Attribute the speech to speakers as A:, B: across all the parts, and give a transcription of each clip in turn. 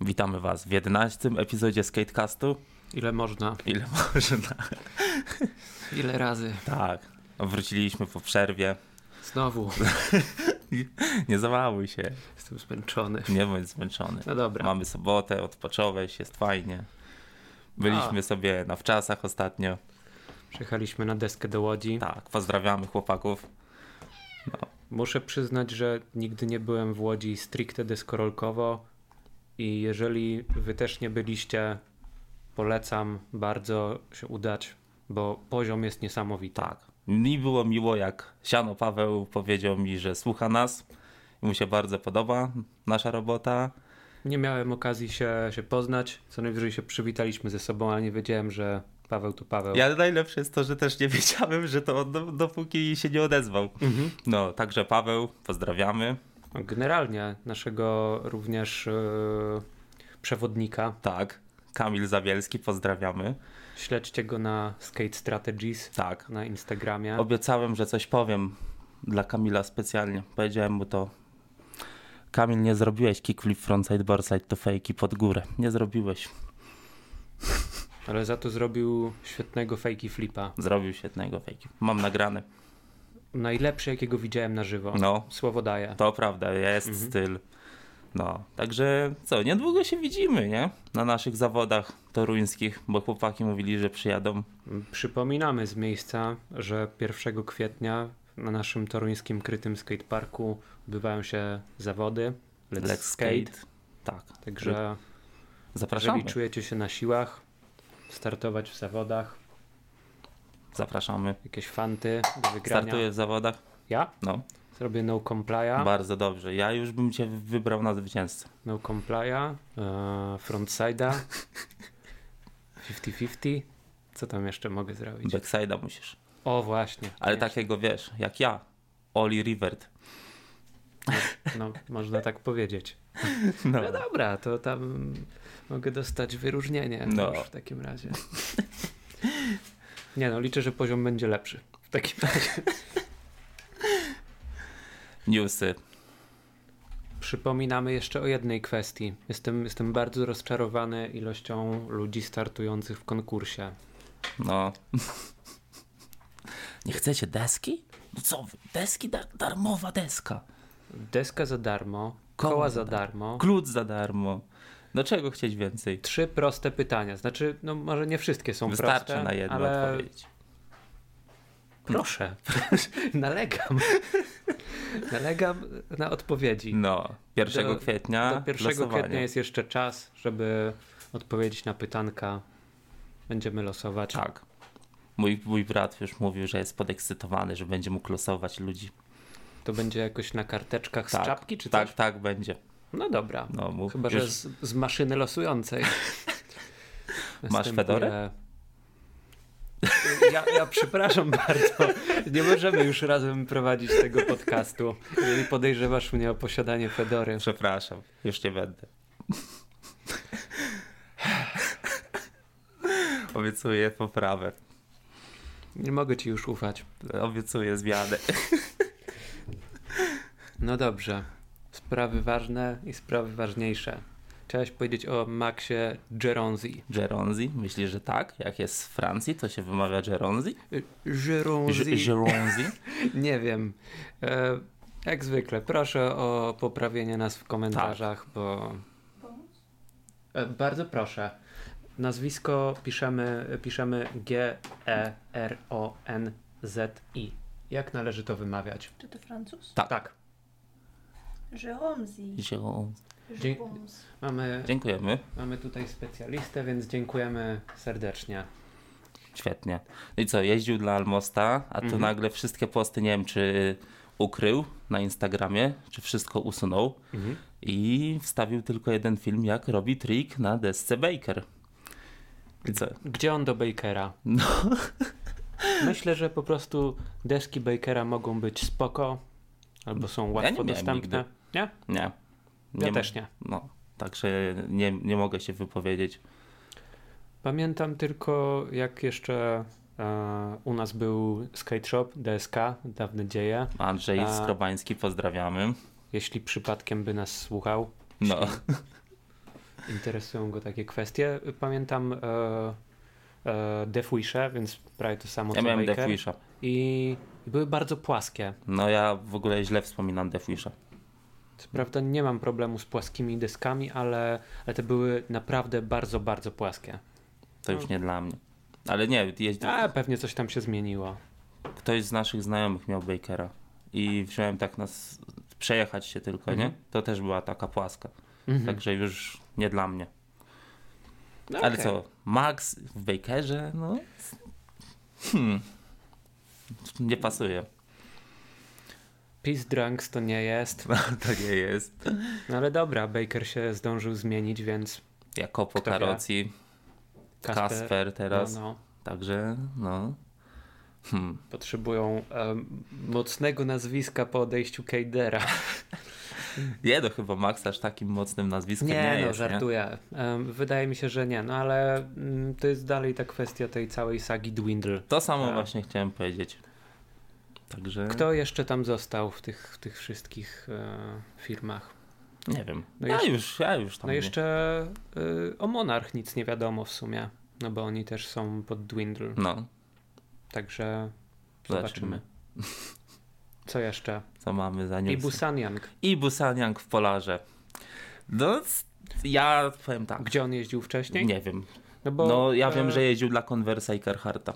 A: Witamy Was w 11 epizodzie Skatecastu.
B: Ile można,
A: Ile można?
B: ile razy.
A: Tak. Wróciliśmy po przerwie.
B: Znowu
A: Nie zawałuj się,
B: jestem zmęczony.
A: nie bądź zmęczony.
B: No dobra.
A: Mamy sobotę, odpocząłeś, jest fajnie. Byliśmy sobie na wczasach ostatnio.
B: Przyjechaliśmy na deskę do Łodzi.
A: Tak, pozdrawiamy chłopaków.
B: Muszę przyznać, że nigdy nie byłem w Łodzi stricte deskorolkowo i jeżeli wy też nie byliście, polecam bardzo się udać, bo poziom jest niesamowity.
A: Tak. Mi było miło, jak Siano Paweł powiedział mi, że słucha nas. Mu się bardzo podoba nasza robota.
B: Nie miałem okazji się, się poznać, co najwyżej się przywitaliśmy ze sobą, ale nie wiedziałem, że Paweł to Paweł.
A: Ja najlepsze jest to, że też nie wiedziałem, że to on dó- dopóki się nie odezwał. No, także Paweł, pozdrawiamy.
B: Generalnie naszego również yy, przewodnika
A: Tak. Kamil Zawielski, pozdrawiamy.
B: Śledźcie go na Skate Strategies
A: Tak.
B: na Instagramie.
A: Obiecałem, że coś powiem dla Kamila specjalnie. Powiedziałem mu to. Kamil, nie zrobiłeś kickflip frontside boardside to fejki pod górę. Nie zrobiłeś.
B: Ale za to zrobił świetnego fakey flipa.
A: Zrobił świetnego fejki. Mam nagrane.
B: Najlepszy, jakiego widziałem na żywo.
A: No,
B: Słowo daję.
A: to prawda, jest
B: Mhm.
A: styl. No, także co, niedługo się widzimy, nie? Na naszych zawodach toruńskich, bo chłopaki mówili, że przyjadą.
B: Przypominamy z miejsca, że 1 kwietnia na naszym toruńskim krytym skateparku odbywają się zawody Let's,
A: Let's
B: skate.
A: skate. Tak,
B: Także
A: zapraszamy.
B: jeżeli czujecie się na siłach, startować w zawodach,
A: Zapraszamy.
B: jakieś fanty do wygrania.
A: Startuję w zawodach.
B: Ja
A: No,
B: zrobię no complya.
A: bardzo dobrze. Ja już bym cię wybrał na zwycięzcę.
B: No Complya, e, Frontside'a, 50-50. Co tam jeszcze mogę zrobić?
A: Backside'a musisz.
B: O, właśnie.
A: Ale tak-
B: Nie,
A: takiego wiesz, jak ja. Oli Rivert.
B: No, można tak powiedzieć.
A: No.
B: No dobra, to tam mogę dostać wyróżnienie
A: No.
B: już w takim razie. Nie no, liczę, że poziom będzie lepszy. W takim razie.
A: Newsy.
B: Przypominamy jeszcze o jednej kwestii. Jestem, jestem bardzo rozczarowany ilością ludzi startujących w konkursie.
A: No. Nie chcecie deski? No co wy? Deski, da- darmowa deska.
B: Deska za darmo,
A: Koła
B: koła
A: za
B: za darmo.
A: Klucz za darmo. No czego chcieć więcej?
B: Trzy proste pytania. Znaczy, no może nie wszystkie są
A: Wystarczy
B: proste.
A: na jedno
B: ale...
A: odpowiedzieć.
B: Proszę, nalegam. Nalegam na odpowiedzi.
A: No, 1
B: Do-
A: kwietnia.
B: Do 1
A: losowanie.
B: kwietnia jest jeszcze czas, żeby odpowiedzieć na pytanka. Będziemy losować.
A: Tak. Mój, mój brat już mówił, że jest podekscytowany, że będzie mógł losować ludzi.
B: To będzie jakoś na karteczkach z
A: Tak,
B: czapki czy
A: tak,
B: coś?
A: tak będzie.
B: No dobra.
A: No, mów,
B: Chyba, że
A: już
B: z, z maszyny losującej. Następuje-
A: fedorę?
B: Ja, ja przepraszam bardzo. Nie możemy już razem prowadzić tego podcastu, jeżeli podejrzewasz mnie o posiadanie fedory.
A: Przepraszam, już nie będę. Obiecuję poprawę.
B: Nie mogę ci już ufać.
A: Obiecuję zmianę.
B: No dobrze. Sprawy ważne i sprawy ważniejsze. Chciałeś powiedzieć o Maxie Geronzi.
A: Geronzi? Myślisz, że tak? Jak jest z Francji, to się wymawia Geronzi?
B: Y,
A: Ge-
B: Geronzi.
A: Geronzi?
B: Nie wiem. E, jak zwykle, proszę o poprawienie nas w komentarzach,
A: Tak.
B: bo. E, bardzo proszę. Nazwisko piszemy, piszemy E G-E-R-O-N-Z-I. Jak należy to wymawiać?
C: Czy to Francuz?
A: Tak.
B: tak.
C: Jérôme
A: Geronzi.
B: Dzie- Mamy,
A: Dziękujemy.
B: mamy tutaj specjalistę, więc dziękujemy serdecznie.
A: Świetnie. No i co, jeździł dla Almosta, a tu nagle wszystkie posty, nie wiem, czy ukrył na Instagramie, czy wszystko usunął. I wstawił tylko jeden film, jak robi trik na desce Baker. I co?
B: Gdzie on do Bakera?
A: No.
B: Myślę, że po prostu deski Bakera mogą być spoko, albo są łatwo
A: miałem
B: dostępne.
A: nigdy.
B: Nie?
A: Nie.
B: Ja
A: ma-
B: też nie.
A: No, także nie, nie mogę się wypowiedzieć.
B: Pamiętam tylko, jak jeszcze e, u nas był skate shop DSK, dawne dzieje.
A: Andrzej
B: A.
A: Skrobański, pozdrawiamy.
B: Jeśli przypadkiem by nas słuchał,
A: No,
B: interesują go takie kwestie. Pamiętam e, e, Death Wisha, więc prawie to samo
A: Ja
B: co
A: miałem
B: Baker.
A: Death Wisha.
B: I były bardzo płaskie.
A: No ja w ogóle źle wspominam Death Wisha.
B: Co prawda nie mam problemu z płaskimi deskami, ale, ale te były naprawdę bardzo, bardzo płaskie.
A: To
B: Mm.
A: już nie dla mnie. Ale nie, jeździ...
B: A pewnie coś tam się zmieniło.
A: ktoś z naszych znajomych miał Bakera i wziąłem tak nas przejechać się tylko, nie?
B: Mhm.
A: To też była taka płaska. Także już nie dla mnie.
B: No
A: Tak, Ale
B: okej.
A: co, Max w Bakerze, no. Hmm. Nie pasuje.
B: Peace Drunks to nie jest.
A: to nie jest.
B: No ale dobra, Baker się zdążył zmienić, więc
A: Jakopo
B: Kto wie?
A: Karoci,
B: Kasper,
A: Kasper teraz.
B: No, no,
A: Także, no. Hmm.
B: potrzebują em, mocnego nazwiska po odejściu Kejdera.
A: Nie, no chyba Max aż takim mocnym nazwiskiem nie,
B: no,
A: jest, nie?
B: żartuję. Em, wydaje mi się, że nie, no ale mm, to jest dalej ta kwestia tej całej sagi Dwindle.
A: To samo
B: Tak.
A: właśnie chciałem powiedzieć. Także,
B: Kto jeszcze tam został w tych, w tych wszystkich e, firmach?
A: nie wiem.
B: No
A: ja
B: jeszcze-
A: już, ja już tam
B: No
A: nie-
B: jeszcze y, o Monarch nic nie wiadomo w sumie, no bo oni też są pod Dwindle,
A: No,
B: także
A: zobaczymy,
B: zobaczymy. Co jeszcze?
A: co mamy za
B: I
A: newsy.
B: Busanyang.
A: I Busaniang w Polarze. No, c- ja powiem tak.
B: Gdzie on jeździł wcześniej?
A: Nie wiem.
B: No, bo,
A: No, ja
B: e,
A: wiem, że jeździł dla Conversa i Carharta.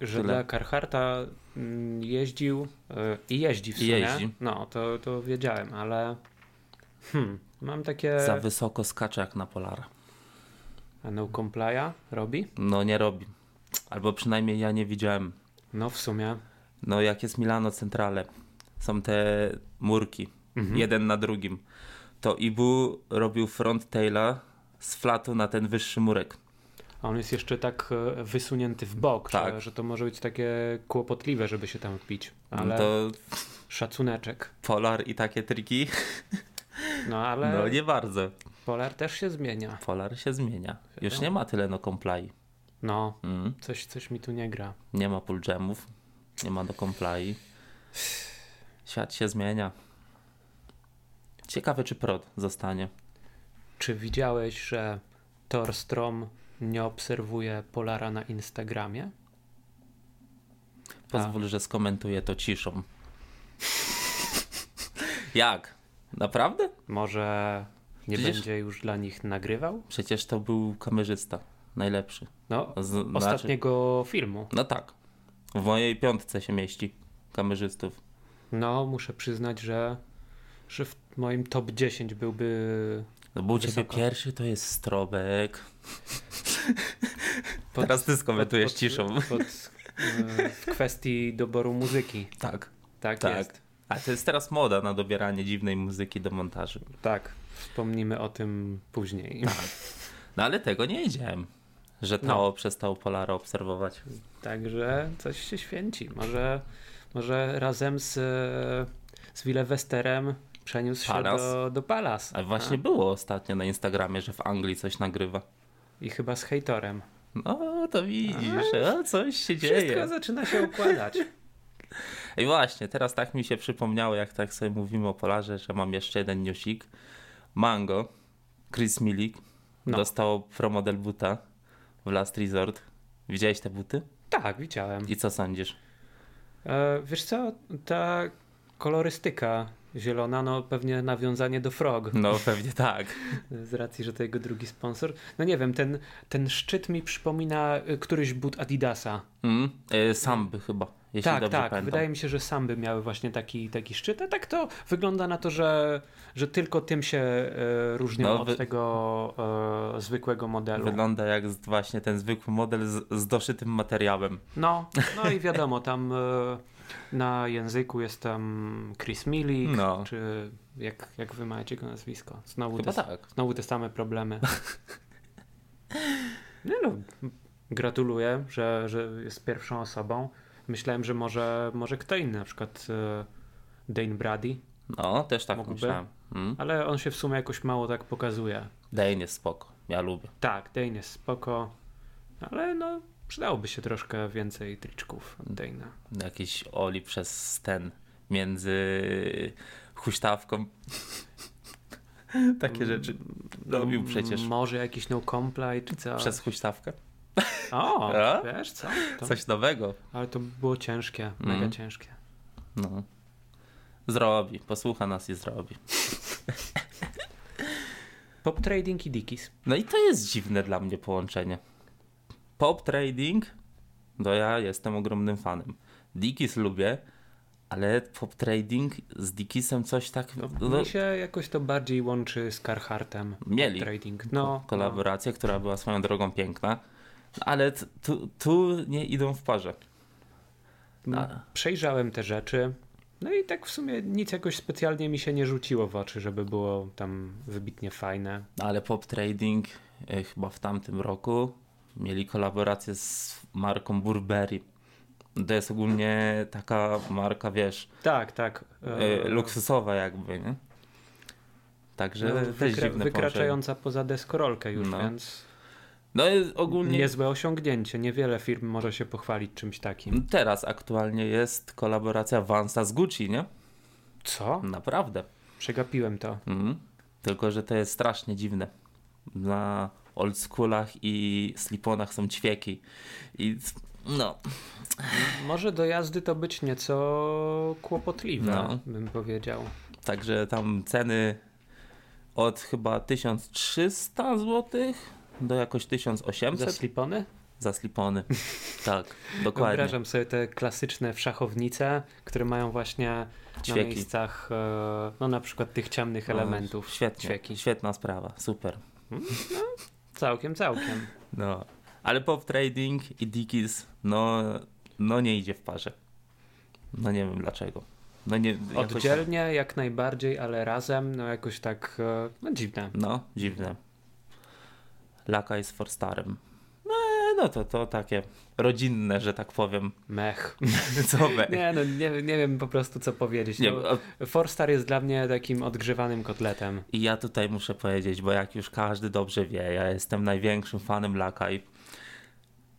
B: że
A: tyle.
B: dla Carharta mm, jeździł e, i jeździ w
A: I
B: sumie.
A: jeździ.
B: No, to, to wiedziałem, ale hmm, mam takie...
A: Za wysoko skacze jak na Polara.
B: A no complya robi?
A: No, nie robi. Albo przynajmniej ja nie widziałem.
B: No w sumie.
A: No, jak jest Milano Centrale, są te murki, jeden na drugim. To Ibu robił front taila z flatu na ten wyższy murek.
B: A on jest jeszcze tak e, wysunięty w bok,
A: Tak.
B: że, że to może być takie kłopotliwe, żeby się tam wbić. Ale
A: Ale... To
B: szacuneczek.
A: Polar i takie triki,
B: No ale
A: no nie bardzo.
B: Polar też się zmienia.
A: Polar się zmienia. Już nie ma tyle no comply.
B: No,
A: Mm.
B: coś, coś mi tu nie gra.
A: Nie ma pull jamów, nie ma do comply. Świat się zmienia. Ciekawe, czy prod zostanie.
B: Czy widziałeś, że Torstrom nie obserwuje Polara na Instagramie?
A: Pozwól, że skomentuję to ciszą. Jak? Naprawdę?
B: Może nie
A: Przecież-
B: będzie już dla nich nagrywał?
A: Przecież to był kamerzysta. Najlepszy.
B: No,
A: Z- znaczy-
B: ostatniego filmu.
A: No tak. W mojej piątce się mieści kamerzystów.
B: No, muszę przyznać, że, że w moim top 10 byłby.
A: No bo u ciebie
B: Wysoko.
A: pierwszy to jest strobek. Teraz ty skomentujesz
B: Tak, pod-
A: ciszą.
B: Pod, e, w kwestii doboru muzyki.
A: Tak.
B: Tak,
A: Tak.
B: jest.
A: A to jest teraz moda na dobieranie dziwnej muzyki do montażu.
B: Tak. Wspomnimy o tym później.
A: No ale tego nie wiedziałem, że Tao
B: No.
A: przestał Polara obserwować.
B: Także coś się święci. Może, może razem z, e, z Willewesterem przeniósł się
A: Palas.
B: do, do Palas.
A: A właśnie było ostatnio na Instagramie, że w Anglii coś nagrywa.
B: I chyba z hejtorem.
A: No to widzisz, a, coś się
B: Wszystko
A: dzieje.
B: zaczyna się układać.
A: I właśnie, teraz tak mi się przypomniało, jak tak sobie mówimy o Polarze, że mam jeszcze jeden newsik. Mango, Chris Milik
B: No.
A: dostał promodel buta w Last Resort. Widziałeś te buty?
B: Tak, widziałem.
A: I co sądzisz?
B: E, wiesz co, ta kolorystyka zielona, no pewnie nawiązanie do Frog,
A: No pewnie tak.
B: z racji, że to jego drugi sponsor. No nie wiem, ten, ten szczyt mi przypomina y, któryś but Adidasa.
A: Mm? E, Samby chyba, jeśli
B: tak,
A: dobrze
B: tak.
A: pamiętam.
B: Wydaje mi się, że samby miały właśnie taki, taki szczyt, a tak to wygląda na to, że, że tylko tym się e, różnią
A: No,
B: od
A: wy-
B: tego e, zwykłego modelu.
A: Wygląda jak z- właśnie ten zwykły model z, z doszytym materiałem.
B: No, no i wiadomo, tam e, na języku jest tam Chris Milik,
A: No.
B: czy jak, jak wy macie jego nazwisko? Znowu
A: Chyba
B: te,
A: tak.
B: Znowu te same problemy. No, no gratuluję, że, że jest pierwszą osobą. Myślałem, że może, może kto inny, na przykład e, Dane Brady,
A: No, też tak
B: Mógłby?
A: myślałem. Mm.
B: ale on się w sumie jakoś mało tak pokazuje.
A: Dane jest spoko, ja lubię.
B: Tak, Dane jest spoko, ale no przydałoby się troszkę więcej triczków od Dane'a.
A: Jakiś oli przez ten między huśtawką. Takie rzeczy robił przecież.
B: Może jakiś no comply czy co?
A: Przez huśtawkę?
B: O,
A: A?
B: wiesz co? To...
A: Coś Mhm. nowego.
B: Ale to było ciężkie, mega ciężkie.
A: No. Zrobi, posłucha nas i zrobi.
B: Pop trading i dickies.
A: No i to jest dziwne dla mnie połączenie. Pop trading, no ja jestem ogromnym fanem. Dickies lubię, ale pop trading z Dickisem coś tak... No,
B: Mi się jakoś to bardziej łączy z Carhartem.
A: Mieli.
B: Pop trading. No, no.
A: kolaborację, która była swoją drogą piękna, ale t- tu, tu nie idą w parze. A.
B: no, Przejrzałem te rzeczy. No i tak w sumie nic jakoś specjalnie mi się nie rzuciło w oczy, żeby było tam wybitnie fajne.
A: Ale Pop Trading e, chyba w tamtym roku mieli kolaborację z marką Burberry. To jest ogólnie taka marka, wiesz,
B: Tak, tak.
A: e, luksusowa jakby, nie? Także
B: no,
A: też
B: wykra-
A: dziwne połączenie.
B: wykraczająca poza deskorolkę już,
A: No.
B: więc
A: No i ogólnie
B: niezłe osiągnięcie. Niewiele firm może się pochwalić czymś takim.
A: teraz aktualnie jest kolaboracja Vansa z Gucci, nie?
B: Co?
A: Naprawdę.
B: Przegapiłem to.
A: Mhm. Tylko, że to jest strasznie dziwne. Na oldschoolach i sliponach są ćwieki. I no,
B: Może do jazdy to być nieco kłopotliwe,
A: No.
B: bym powiedział.
A: także tam ceny od chyba 1300 zł do jakoś 1800
B: Za
A: za,
B: slipony?
A: slipony. tak, dokładnie.
B: Wyobrażam sobie te klasyczne szachownice, które mają właśnie na
A: Ćwieki.
B: miejscach, e, no na przykład tych ciemnych
A: No,
B: elementów.
A: Świetnie,
B: Ćwieki.
A: świetna sprawa, super.
B: Całkiem, całkiem.
A: No, ale pop trading i Dickies, no, no nie idzie w parze. No nie wiem dlaczego. No nie, jakoś-
B: Oddzielnie jak najbardziej, ale razem, no jakoś tak, e, no dziwne.
A: No, dziwne. Laka jest for starym. No, no to, to takie rodzinne, że tak powiem.
B: Mech.
A: Co we-
B: Nie, no nie, nie wiem po prostu co powiedzieć.
A: Nie,
B: No,
A: a-
B: Forstar jest dla mnie takim odgrzewanym kotletem.
A: I ja tutaj muszę powiedzieć, bo jak już każdy dobrze wie, ja jestem największym fanem Lakaj.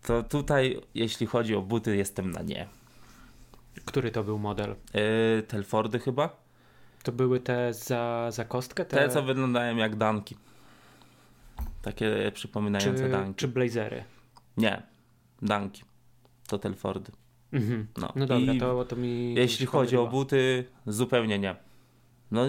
A: To tutaj, jeśli chodzi o buty, jestem na nie.
B: Który to był model?
A: Yy, Telfordy chyba?
B: To były te za, za kostkę?
A: Te, co wyglądają jak danki. Takie przypominające
B: czy,
A: danki.
B: czy blazery?
A: Nie, danki. To Telfordy.
B: Mhm.
A: No.
B: No dobra,
A: I
B: to, to mi.
A: Jeśli
B: to
A: chodzi o
B: pomyliło.
A: buty, zupełnie nie. No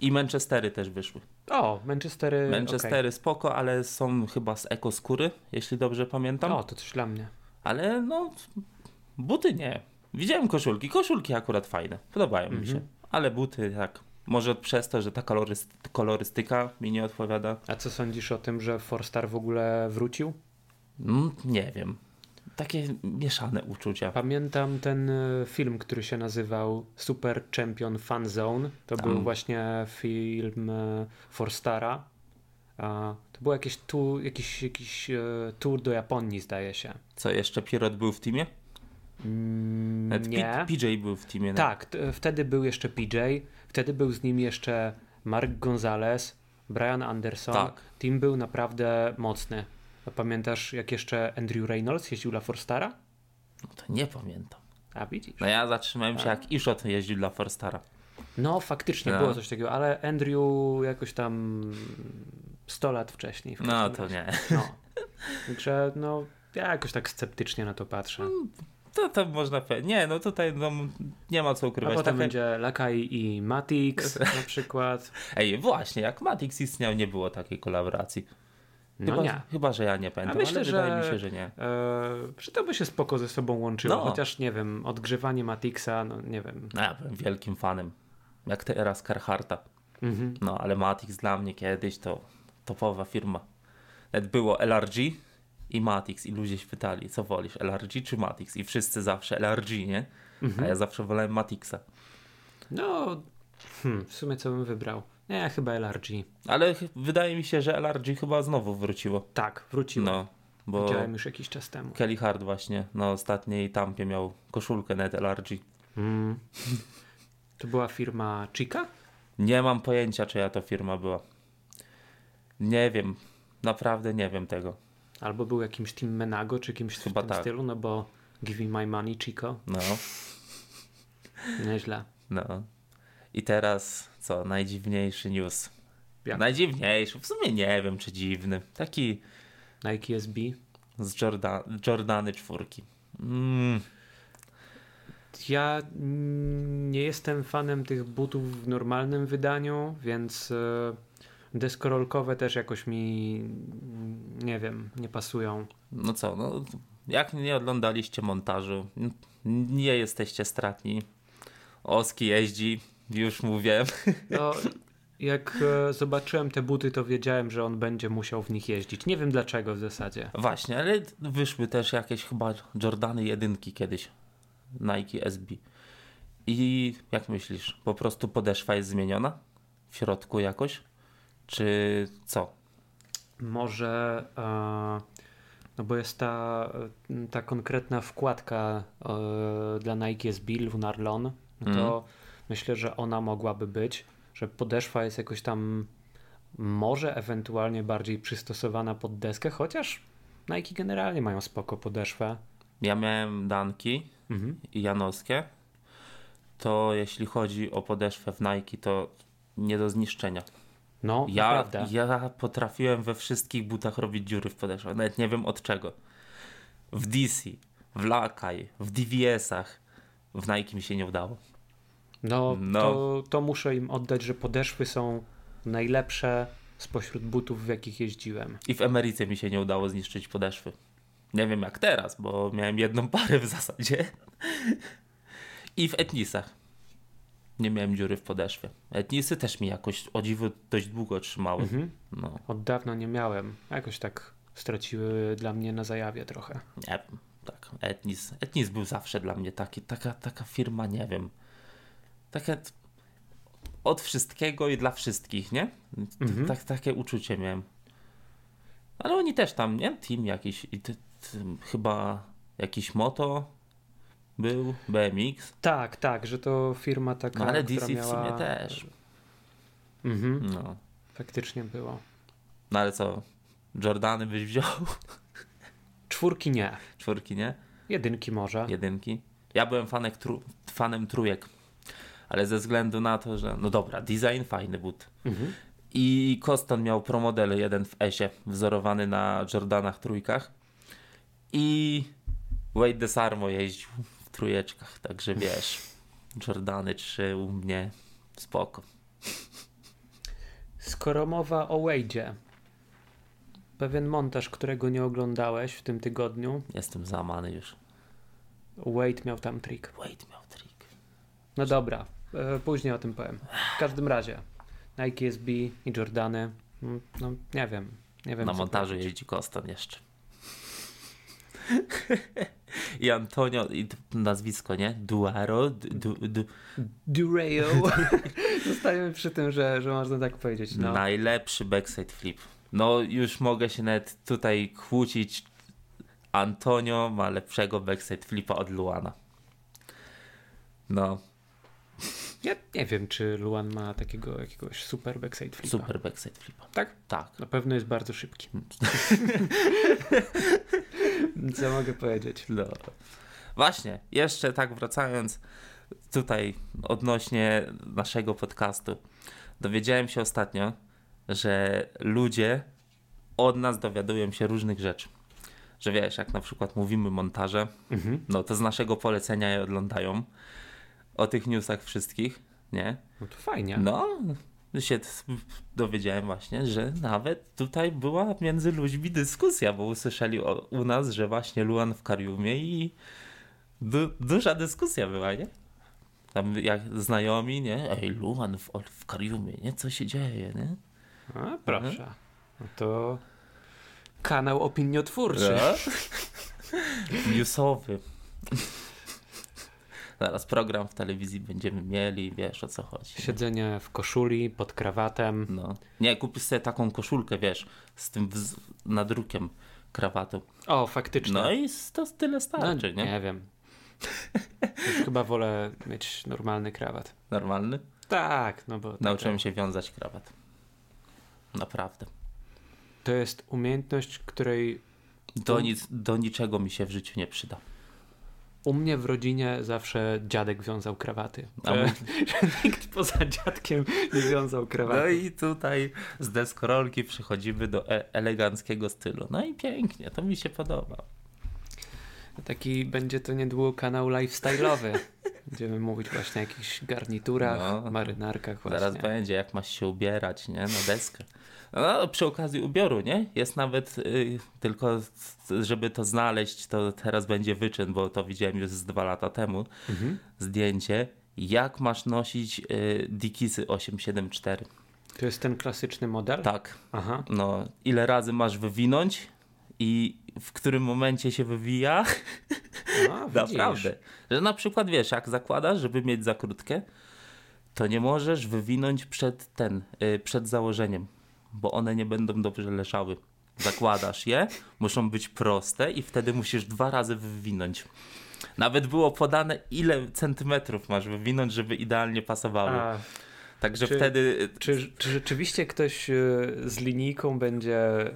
A: i Manchestery też
B: Y,
A: wyszły.
B: O, Manchestery.
A: Manchestery spoko, ale są chyba z ekoskóry, jeśli dobrze pamiętam.
B: okej. O, to coś dla mnie.
A: Ale no, buty nie. Widziałem koszulki. Koszulki akurat fajne, podobają mi
B: Mhm.
A: się. Ale buty tak. Może przez to, że ta koloryst- kolorystyka mi nie odpowiada.
B: A co sądzisz o tym, że Forstar w ogóle wrócił?
A: Mm, nie wiem. Takie mieszane uczucia.
B: Pamiętam ten y, film, który się nazywał Super Champion Fan Zone. To
A: Mm.
B: był właśnie film y, Forstara. A, To był jakiś, tu, jakiś, jakiś y, tour do Japonii, zdaje się.
A: Co jeszcze, Pierrot był w teamie?
B: Mm,
A: Nawet P-
B: nie.
A: PJ był w teamie. no.
B: Tak, t- wtedy był jeszcze PJ, wtedy był z nim jeszcze Mark Gonzalez, Brian Anderson.
A: Tak.
B: Team był naprawdę mocny. A Pamiętasz, jak jeszcze Andrew Reynolds jeździł dla Forstara?
A: No to nie pamiętam.
B: A widzisz?
A: No ja zatrzymałem się, jak Iszot jeździł dla Forstara.
B: No, faktycznie
A: No.
B: było coś takiego, ale Andrew jakoś tam 100 lat wcześniej. w
A: No
B: każdym
A: to
B: razie.
A: nie.
B: No. Także no, ja jakoś tak sceptycznie na to patrzę.
A: No, To, to można powiedzieć. Nie, no tutaj no, nie ma co
B: A
A: ukrywać.
B: potem
A: Tam-
B: będzie Lakai i Matix na przykład.
A: Ej, właśnie, jak Matix istniał, nie było takiej kolaboracji.
B: No
A: Chyba,
B: nie.
A: chyba że ja nie
B: A
A: pamiętam,
B: myślę,
A: ale
B: że,
A: wydaje mi się, że nie.
B: e, że to by się spoko ze sobą łączyło,
A: No.
B: chociaż nie wiem, odgrzewanie Matixa, no nie wiem.
A: No, ja byłem wielkim fanem. Jak teraz Carharta.
B: Mhm.
A: No, ale Matix dla mnie kiedyś to topowa firma. Nawet było LRG i Matix i ludzie się pytali, co wolisz, LRG czy Matix? I wszyscy zawsze LRG, nie?
B: Mhm.
A: A ja zawsze wolałem Matixa.
B: No, hmm, w sumie co bym wybrał? Nie, chyba LRG.
A: Ale ch- wydaje mi się, że LRG chyba znowu wróciło.
B: Tak, wróciło.
A: No, bo
B: Widziałem już jakiś czas temu.
A: Kelly Hart właśnie na ostatniej tampie miał koszulkę net LRG.
B: Mm. To była firma Chica?
A: Nie mam pojęcia, czyja to firma była. Nie wiem. Naprawdę nie wiem tego.
B: Albo był jakimś Team Menago, czy kimś
A: Chyba
B: w tym
A: tak.
B: stylu, no bo Give me my money, Chico.
A: No,
B: Nieźle.
A: no. I teraz co? Najdziwniejszy news.
B: Jak?
A: Najdziwniejszy, w sumie nie wiem czy dziwny. Taki
B: Nike SB.
A: z Jordan, Jordany czwórki. Mm,
B: Ja mm, nie jestem fanem tych butów w normalnym wydaniu, więc y, deskorolkowe też jakoś mi mm, nie wiem, nie pasują.
A: no co, no, jak nie oglądaliście montażu, n- nie jesteście stratni. Oski jeździ, już mówię.
B: No, jak e, zobaczyłem te buty, to wiedziałem, że on będzie musiał w nich jeździć. Nie wiem dlaczego w zasadzie.
A: Właśnie, ale wyszły też jakieś chyba Jordany jedynki kiedyś. Nike SB. I jak myślisz, po prostu podeszwa jest zmieniona? W środku jakoś? Czy co?
B: Może, e, no bo jest ta, e, ta konkretna wkładka e, dla Nike z Bill w Narlon, no to
A: Mhm.
B: myślę, że ona mogłaby być, że podeszwa jest jakoś tam może ewentualnie bardziej przystosowana pod deskę, chociaż Nike generalnie mają spoko podeszwę.
A: Ja miałem Danki
B: Mhm.
A: i Janowskie. To jeśli chodzi o podeszwę w Nike, to nie do zniszczenia.
B: No,
A: Ja,
B: naprawdę.
A: ja potrafiłem we wszystkich butach robić dziury w podeszwach. Nawet nie wiem od czego. W DC, w Lakaj, w DVS-ach. W Nike mi się nie udało.
B: No,
A: No.
B: To, to muszę im oddać, że podeszwy są najlepsze spośród butów, w jakich jeździłem.
A: I w Emeryce mi się nie udało zniszczyć podeszwy. Nie wiem jak teraz, bo miałem jedną parę w zasadzie. I w Etnisach. Nie miałem dziury w podeszwie. Etnisy też mi jakoś o dziwo dość długo trzymały.
B: Mhm.
A: No,
B: Od dawna nie miałem. Jakoś tak straciły dla mnie na zajawie trochę.
A: nie wiem. Tak, Etnis. Etnis był zawsze dla mnie taki, taka, taka firma, nie wiem. Taka t- od wszystkiego i dla wszystkich, nie? T-
B: Mhm.
A: Tak, takie uczucie miałem. Ale oni też tam, nie? Team jakiś, i ty, ty, chyba jakiś moto był, BMX,
B: Tak, tak, że to firma taka.
A: no ale
B: która
A: DC w
B: miała...
A: sumie też.
B: Mhm,
A: No.
B: faktycznie było.
A: no ale co, Jordany byś wziął?
B: Czwórki nie.
A: Czwórki, nie?
B: Jedynki może.
A: jedynki. Ja byłem fanek tru, fanem trójek, ale ze względu na to, że no dobra, design fajny but.
B: Mhm.
A: I Koston miał promodel jeden w S-ie, wzorowany na Jordanach trójkach. I Wade DeSarmo jeździł w trójeczkach, także wiesz, Jordany 3 u mnie spoko.
B: Skoro mowa o Wade'zie. Pewien montaż, którego nie oglądałeś w tym tygodniu.
A: Jestem załamany już.
B: Wade miał tam trik.
A: Wade miał trik.
B: No dobra, e, później o tym powiem. W każdym razie, Nike SB i Jordany, mm, no nie wiem, nie wiem.
A: Na
B: co
A: montażu
B: powiedzieć.
A: jeździ Koston jeszcze. I Antonio, i t- nazwisko, nie? Duaro? Du, du, du,
B: Durail.
A: Tak.
B: Zostajemy przy tym, że, że można tak powiedzieć. No.
A: Najlepszy backside flip. No już mogę się nawet tutaj kłócić. Antonio ma lepszego backside flipa od Luana. No,
B: Ja nie wiem, czy Luan ma takiego jakiegoś super backside flipa.
A: super Mm. backside flipa.
B: Tak?
A: Tak.
B: Na pewno jest bardzo szybki. Co mogę powiedzieć?
A: No. Właśnie, jeszcze tak wracając tutaj odnośnie naszego podcastu. Dowiedziałem się ostatnio, że ludzie od nas dowiadują się różnych rzeczy. Że wiesz, jak na przykład mówimy montaże,
B: Mhm.
A: no to z naszego polecenia je oglądają. O tych newsach wszystkich, nie?
B: No to fajnie.
A: No, się t- dowiedziałem właśnie, że nawet tutaj była między ludźmi dyskusja, bo usłyszeli o, u nas, że właśnie Luan w Kariumie i du, duża dyskusja była, nie? Tam jak znajomi, nie? Ej, Luan w, w Kariumie, nie? Co się dzieje, nie?
B: A,
A: Mhm.
B: proszę. No to kanał opiniotwórczy.
A: No. Newsowy. Zaraz program w telewizji będziemy mieli, wiesz o co chodzi.
B: Siedzenie w koszuli, pod krawatem.
A: No. Nie, kupisz sobie taką koszulkę, wiesz, z tym wz- nadrukiem krawatu.
B: O, faktycznie.
A: No i s- to tyle starczy,
B: No, nie?
A: nie?
B: wiem. Już chyba wolę mieć normalny krawat.
A: Normalny.
B: Tak, no bo taka-
A: Nauczyłem się wiązać krawat. Naprawdę.
B: to jest umiejętność, której
A: Do, nic, do niczego mi się w życiu nie przyda.
B: U mnie w rodzinie zawsze dziadek wiązał krawaty.
A: A
B: Że,
A: my-
B: że nikt poza dziadkiem nie wiązał krawaty.
A: No i tutaj z deskorolki przechodzimy do e- eleganckiego stylu. No i pięknie, to mi się podoba.
B: Taki będzie to niedługo kanał lifestyle'owy. Będziemy mówić właśnie o jakichś garniturach,
A: No.
B: marynarkach właśnie.
A: Zaraz będzie, jak masz się ubierać, nie? Na deskę. No, przy okazji ubioru, nie? Jest nawet, y, tylko z- żeby to znaleźć, to teraz będzie wyczyn, bo to widziałem już z dwa lata temu
B: Mhm.
A: zdjęcie, jak masz nosić y, Dikisy 874.
B: To jest ten klasyczny model?
A: Tak,
B: Aha.
A: no, ile razy masz wywinąć i w którym momencie się wywija.
B: A, widzisz.
A: Naprawdę. Że na przykład wiesz, jak zakładasz, żeby mieć za krótkie, to nie możesz wywinąć przed ten, y, przed założeniem, bo one nie będą dobrze leżały. Zakładasz je, muszą być proste i wtedy musisz dwa razy wywinąć. Nawet było podane, ile centymetrów masz wywinąć, żeby idealnie pasowały.
B: A,
A: Także
B: czy-
A: wtedy
B: czy, czy rzeczywiście ktoś e, z linijką będzie e,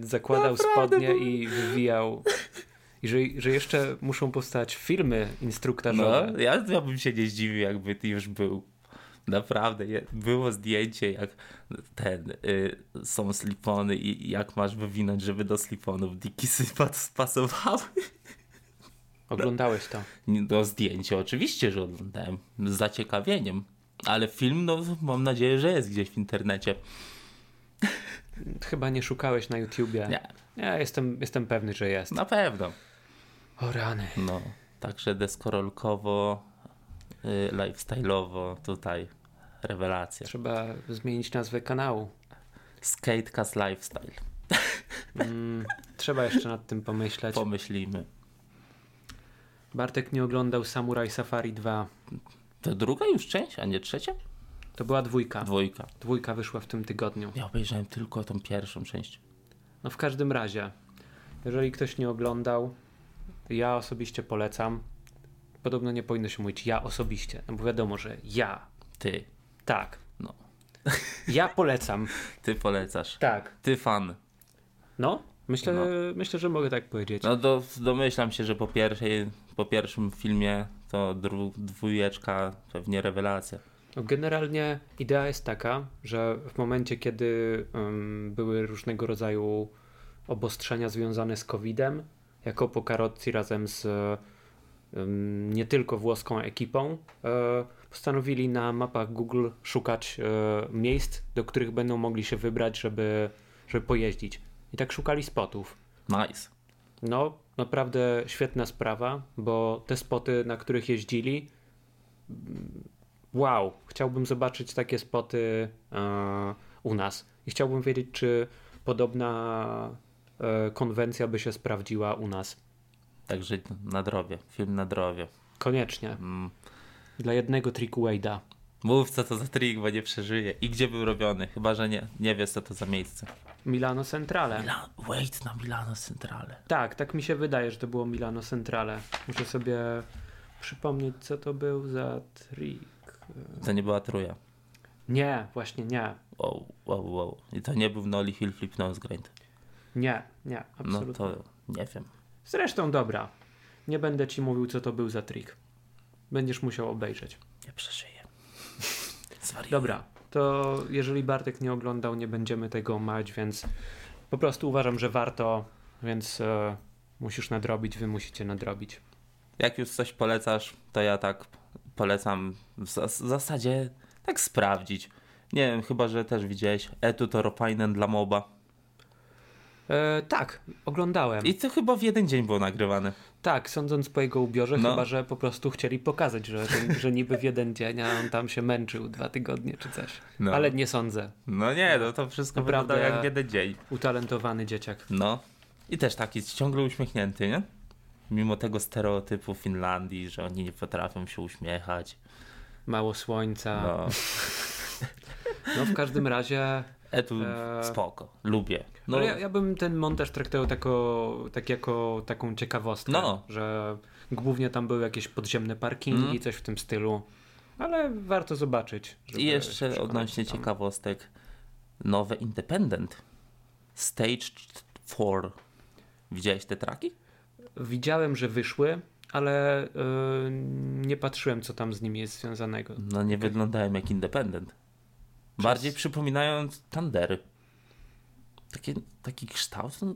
B: zakładał
A: Naprawdę,
B: spodnie i wywijał? I że, że jeszcze muszą powstać filmy instruktażowe.
A: No, ja, ja bym się nie zdziwił, jakby ty już był. Naprawdę, je- było zdjęcie, jak ten, y, są slipony i i jak masz wywinąć, żeby do sliponów dikisy pas- spasowały.
B: Oglądałeś to.
A: Nie, No zdjęcie oczywiście, że oglądałem z zaciekawieniem, ale film, no mam nadzieję, że jest gdzieś w internecie.
B: Chyba nie szukałeś na YouTubie.
A: Nie,
B: Ja jestem, jestem pewny, że jest.
A: na pewno.
B: O rany.
A: No, także deskorolkowo, y, lifestyle'owo tutaj rewelacja.
B: Trzeba zmienić nazwę kanału.
A: Skatecast Lifestyle,
B: Mm, trzeba jeszcze nad tym pomyśleć.
A: pomyślimy.
B: Bartek nie oglądał Samurai Safari 2.
A: To druga już część, a nie trzecia?
B: To była dwójka.
A: Dwójka.
B: Dwójka wyszła w tym tygodniu.
A: Ja obejrzałem tylko tą pierwszą część.
B: No w każdym razie, jeżeli ktoś nie oglądał, ja osobiście polecam. Podobno nie powinno się mówić ja osobiście, no bo wiadomo, że ja.
A: Ty,
B: Tak.
A: no.
B: Ja polecam.
A: Ty polecasz.
B: Tak.
A: Ty fan.
B: No, myślę,
A: No.
B: myślę że mogę tak powiedzieć.
A: No do, domyślam się, że po, pierwszej, po pierwszym filmie to dru, dwójeczka pewnie rewelacja.
B: No, generalnie idea jest taka, że w momencie, kiedy ym, były różnego rodzaju obostrzenia związane z COVID-em, jako Pokarotti razem z ym, nie tylko włoską ekipą, y, postanowili na mapach Google szukać y, miejsc, do których będą mogli się wybrać, żeby, żeby pojeździć. I tak szukali spotów.
A: Nice.
B: No, naprawdę świetna sprawa, bo te spoty, na których jeździli, mm, wow, chciałbym zobaczyć takie spoty e, u nas i chciałbym wiedzieć, czy podobna e, konwencja by się sprawdziła u nas.
A: Także na drobie. Film na drobie.
B: Koniecznie.
A: Mm.
B: Dla jednego triku Wade'a.
A: Mów co to za trik, bo nie przeżyje. I gdzie był robiony? Chyba, że nie, nie wiesz co to za miejsce.
B: Milano Centrale.
A: Mila- wait na Milano Centrale.
B: Tak, tak mi się wydaje, że to było Milano Centrale. Muszę sobie przypomnieć, co to był za trik.
A: To nie była truja.
B: Nie, właśnie nie.
A: Wow, wow, wow. I to nie był Nolly Hill Flip Nose Grind.
B: Nie, nie, absolutnie.
A: No to nie wiem.
B: Zresztą dobra. Nie będę ci mówił, co to był za trik. Będziesz musiał obejrzeć.
A: Nie przeżyję. Zwariuję.
B: Dobra, to jeżeli Bartek nie oglądał, nie będziemy tego mać, więc po prostu uważam, że warto, więc e, musisz nadrobić, wy musicie nadrobić.
A: Jak już coś polecasz, to ja tak polecam w, zas- w zasadzie tak sprawdzić. Nie wiem, chyba, że też widziałeś Etutoropajnen dla MOBA.
B: E, tak, oglądałem.
A: I to chyba w jeden dzień było nagrywane.
B: Tak, sądząc po jego ubiorze,
A: No.
B: chyba że po prostu chcieli pokazać, że, że, że niby w jeden dzień, a on tam się męczył dwa tygodnie czy coś.
A: No.
B: Ale nie sądzę.
A: No nie, no to wszystko
B: Naprawdę-
A: wygląda jak w jeden dzień.
B: Utalentowany dzieciak.
A: No. I też taki ciągle uśmiechnięty, nie? Mimo tego stereotypu Finlandii, że oni nie potrafią się uśmiechać.
B: Mało słońca. No,
A: No.
B: w każdym razie
A: Etu
B: Eee.
A: spoko, lubię. No,
B: Ale ja, ja bym ten montaż traktował tako, tak jako taką ciekawostkę,
A: No.
B: że głównie tam były jakieś podziemne parkingi,
A: Mm.
B: coś w tym stylu, ale warto zobaczyć. żeby
A: I
B: się
A: jeszcze
B: przekonać,
A: odnośnie
B: co tam.
A: ciekawostek, nowe Independent. Stage 4. Widziałeś te traki?
B: Widziałem, że wyszły, ale y, nie patrzyłem, co tam z nim jest związanego.
A: No nie wyglądałem jak independent. Bardziej przypominają tandery. Takie, taki kształt. no-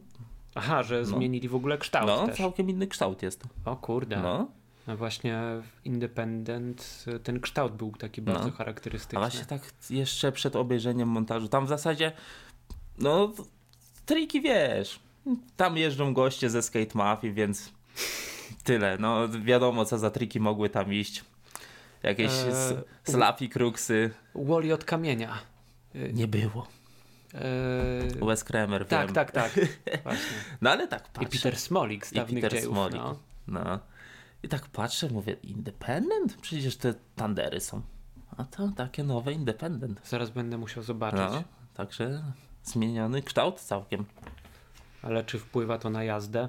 B: Aha, że zmienili w ogóle kształt
A: No,
B: też.
A: całkiem inny kształt jest.
B: O kurde. No.
A: No.
B: właśnie w Independent y, ten kształt był taki bardzo
A: No. A
B: charakterystyczny.
A: właśnie tak jeszcze przed obejrzeniem montażu. Tam w zasadzie, no, triki wiesz. Tam jeżdżą goście ze Skate Mafii, więc tyle. No, wiadomo, co za triki mogły tam iść. Jakieś
B: Eee,
A: s- slapi, kruksy.
B: Wally od kamienia.
A: Nie było.
B: E,
A: Wes Kremer,
B: tak,
A: wiem.
B: tak, tak. Właśnie.
A: No, ale tak
B: I
A: patrzę.
B: Peter Smolik z
A: I
B: dawnych
A: Peter
B: dziejów.
A: Smolik.
B: No.
A: No. I tak patrzę, mówię, independent? Przecież te tandery są. A to takie nowe independent.
B: Zaraz będę musiał zobaczyć.
A: No, także zmieniony kształt całkiem.
B: Ale czy wpływa to na jazdę?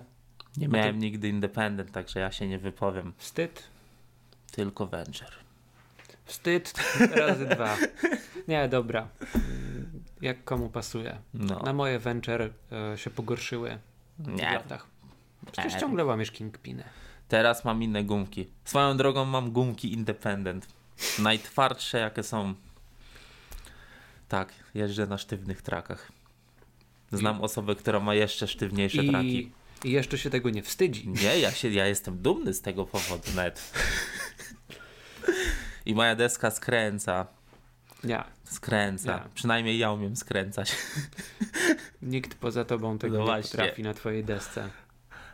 A: Nie miałem nigdy independent, także ja się nie wypowiem.
B: Wstyd.
A: Tylko Venture.
B: Wstyd razy dwa. Nie, dobra. Mm, Jak komu pasuje.
A: No.
B: Na moje venture e, się pogorszyły w
A: Nie.
B: latach. Przecież
A: Nie.
B: ciągle łamiesz Kingpinę.
A: Teraz mam inne gumki. Swoją drogą mam gumki independent. Najtwardsze jakie są. Tak, jeżdżę na sztywnych trakach. Znam osobę, która ma jeszcze sztywniejsze traki.
B: I, I jeszcze się tego nie wstydzi.
A: Nie, ja, się, ja jestem dumny z tego powodu net. I moja deska skręca,
B: Nie.
A: skręca.
B: Nie.
A: Przynajmniej ja umiem skręcać.
B: Nikt poza tobą tego
A: No
B: nie
A: właśnie.
B: potrafi na twojej desce.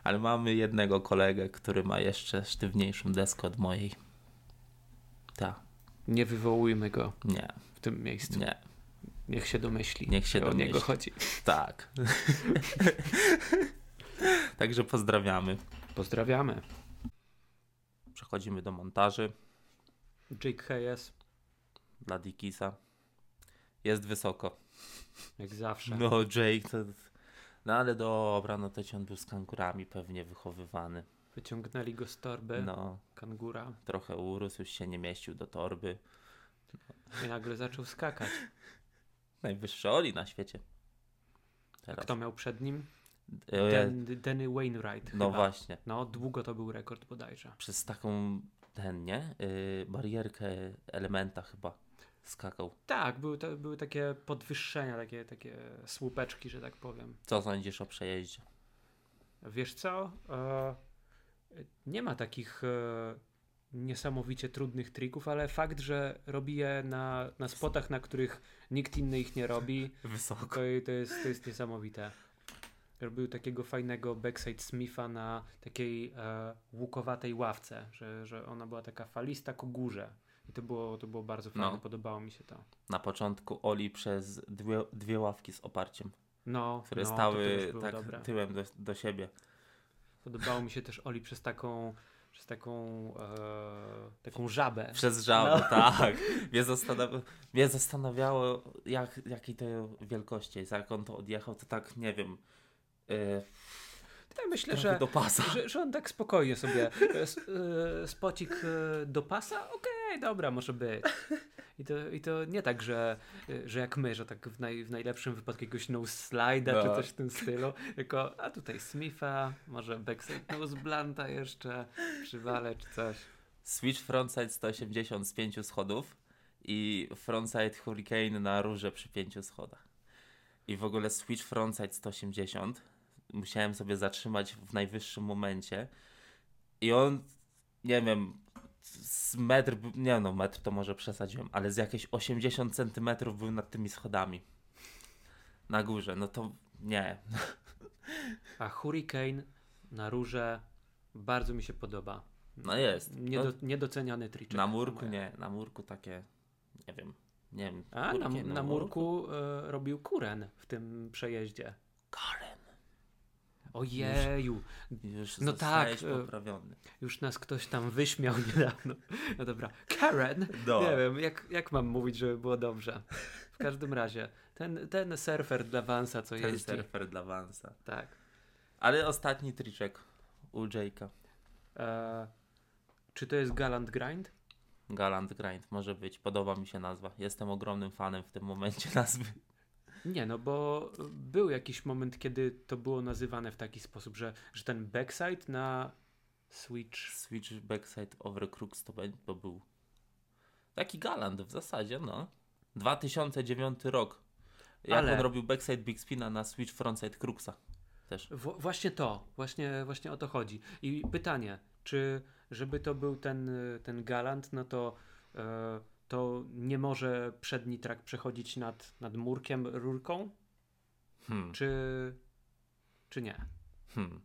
A: Ale mamy jednego kolegę, który ma jeszcze sztywniejszą deskę od mojej. Tak,
B: Nie wywołujmy go
A: nie,
B: w tym miejscu.
A: nie,
B: Niech się domyśli.
A: Niech się
B: że O niego
A: domyśli.
B: chodzi.
A: tak. Także pozdrawiamy.
B: Pozdrawiamy.
A: Przechodzimy do montaży
B: Jake Hayes,
A: dla Dickisa. Jest wysoko.
B: jak zawsze.
A: No, Jake to... No ale dobra, no to ci on był z kangurami pewnie wychowywany.
B: Wyciągnęli go z torby,
A: No,
B: kangura,
A: trochę urósł, już się nie mieścił do torby.
B: i nagle zaczął skakać.
A: Najwyższy Oli na świecie. Teraz.
B: Kto miał przed nim?
A: E,
B: Den, Danny Wainwright.
A: No
B: chyba.
A: właśnie.
B: No, długo to był rekord bodajże.
A: przez taką ten, nie? Yy, barierkę elementa chyba skakał.
B: Tak, były, to, były takie podwyższenia, takie, takie słupeczki, że tak powiem.
A: Co sądzisz o przejeździe?
B: Wiesz co? E, nie ma takich e, niesamowicie trudnych trików, ale fakt, że robi je na, na spotach, na których nikt inny ich nie robi,
A: Wysoko.
B: to, to, jest, to jest niesamowite. Robił takiego fajnego backside Smitha na takiej e, łukowatej ławce, że, że ona była taka falista ku górze. I to było, to było bardzo fajne,
A: No.
B: podobało mi się to.
A: Na początku Oli przez dwie, dwie ławki z oparciem,
B: No,
A: które
B: no, to też
A: stały
B: było
A: tak
B: dobre. No.
A: tyłem do, do siebie.
B: Podobało mi się też Oli przez taką, przez taką, e, taką żabę.
A: Przez żabę, tak. Mnie, zastanaw- mnie zastanawiało, jak, jakiej to wielkości jest. Jak on to odjechał, to tak, nie wiem, yy,
B: Ja myślę,
A: trochę
B: że,
A: do pasa.
B: że, że on tak spokojnie sobie s- e, spocik e, do pasa, okej, dobra, może być. I to, I to nie tak, że, e, że jak my, że tak w, naj, w najlepszym wypadku jakiegoś no slide'a
A: No.
B: czy coś w tym stylu, tylko a tutaj Smitha, może backside nose blanta jeszcze, przywale czy coś.
A: Switch frontside 180 z 5 schodów i frontside Hurricane na rurze przy 5 schodach. I w ogóle switch frontside 180 musiałem sobie zatrzymać w najwyższym momencie i on, nie wiem, z metr, b- nie no metr to może przesadziłem, ale z jakieś 80 centymetrów był nad tymi schodami. Na górze, no to nie.
B: A Hurricane na róże bardzo mi się podoba.
A: No jest. No,
B: Niedo, niedoceniany triczek.
A: na murku
B: moje.
A: nie, na murku takie, nie wiem, nie wiem. no
B: A, na,
A: Hurricane
B: na murku e, robił Kuren w tym przejeździe.
A: Karen.
B: Ojeju,
A: Już
B: No
A: no
B: tak,
A: tak,
B: e,
A: poprawiony.
B: już nas ktoś tam wyśmiał niedawno. No dobra, Karen,
A: No.
B: nie wiem, jak, jak mam mówić, żeby było dobrze. W każym razie, ten, ten surfer dla Vansa, co
A: Ten
B: jeździ.
A: surfer dla Vansa.
B: Tak.
A: Ale ostatni triczek u Jake'a.
B: E, czy to jest Galant Grind?
A: Galant Grind, może być. Podoba mi się nazwa. Jestem ogromnym fanem w tym momencie nazwy.
B: Nie, no bo był jakiś moment, kiedy to było nazywane w taki sposób, że, że ten backside na Switch.
A: Switch Backside Overcrux to, be- to był taki galant w zasadzie, no. 2009 rok. Jak
B: Ale-
A: on robił Backside Big Spina na Switch Frontside Cruxa. Też.
B: W- właśnie to, właśnie, właśnie o to chodzi. I pytanie, czy żeby to był ten, y, ten galant, no to, e, to nie może przedni trak przechodzić nad, nad murkiem, rurką?
A: Hmm.
B: Czy, czy nie?
A: Hmm.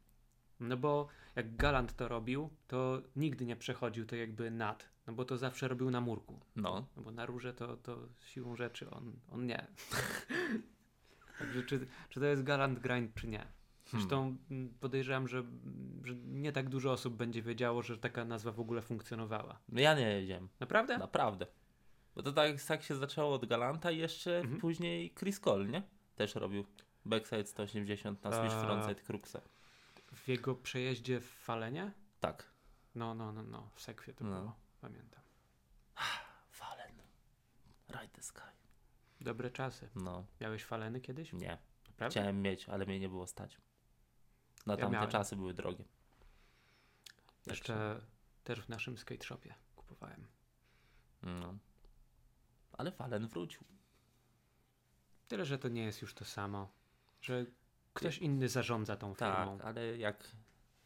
B: No bo jak galant to robił, to nigdy nie przechodził to jakby nad, no bo to zawsze robił na murku.
A: No.
B: No bo na rurze to, to siłą rzeczy on, on nie. Także czy, czy to jest galant grind, czy nie?
A: Hmm.
B: Zresztą mm, podejrzewam, że, że nie tak dużo osób będzie wiedziało, że taka nazwa w ogóle funkcjonowała.
A: No ja nie wiedziałem.
B: Naprawdę?
A: Naprawdę. Bo to tak, tak się zaczęło od Galanta i jeszcze
B: Mhm.
A: później Chris Cole, nie? Też robił Backside 180 na Switch
B: A.
A: Frontside Cruxa.
B: W jego przejeździe w Falenie?
A: Tak.
B: No, no, no, no, w sekwie to
A: No.
B: było, pamiętam.
A: Fallen. Ride the Sky.
B: Dobre czasy.
A: No,
B: Miałeś Faleny kiedyś?
A: nie.
B: Naprawdę?
A: Chciałem mieć, ale mnie nie było stać. Na
B: Ja
A: tamte
B: miałem.
A: czasy były drogie.
B: Jeszcze też w naszym skate shopie kupowałem.
A: No. Ale Fallen wrócił.
B: Tyle, że to nie jest już to samo. Że ktoś inny zarządza tą
A: Tak,
B: firmą.
A: ale jak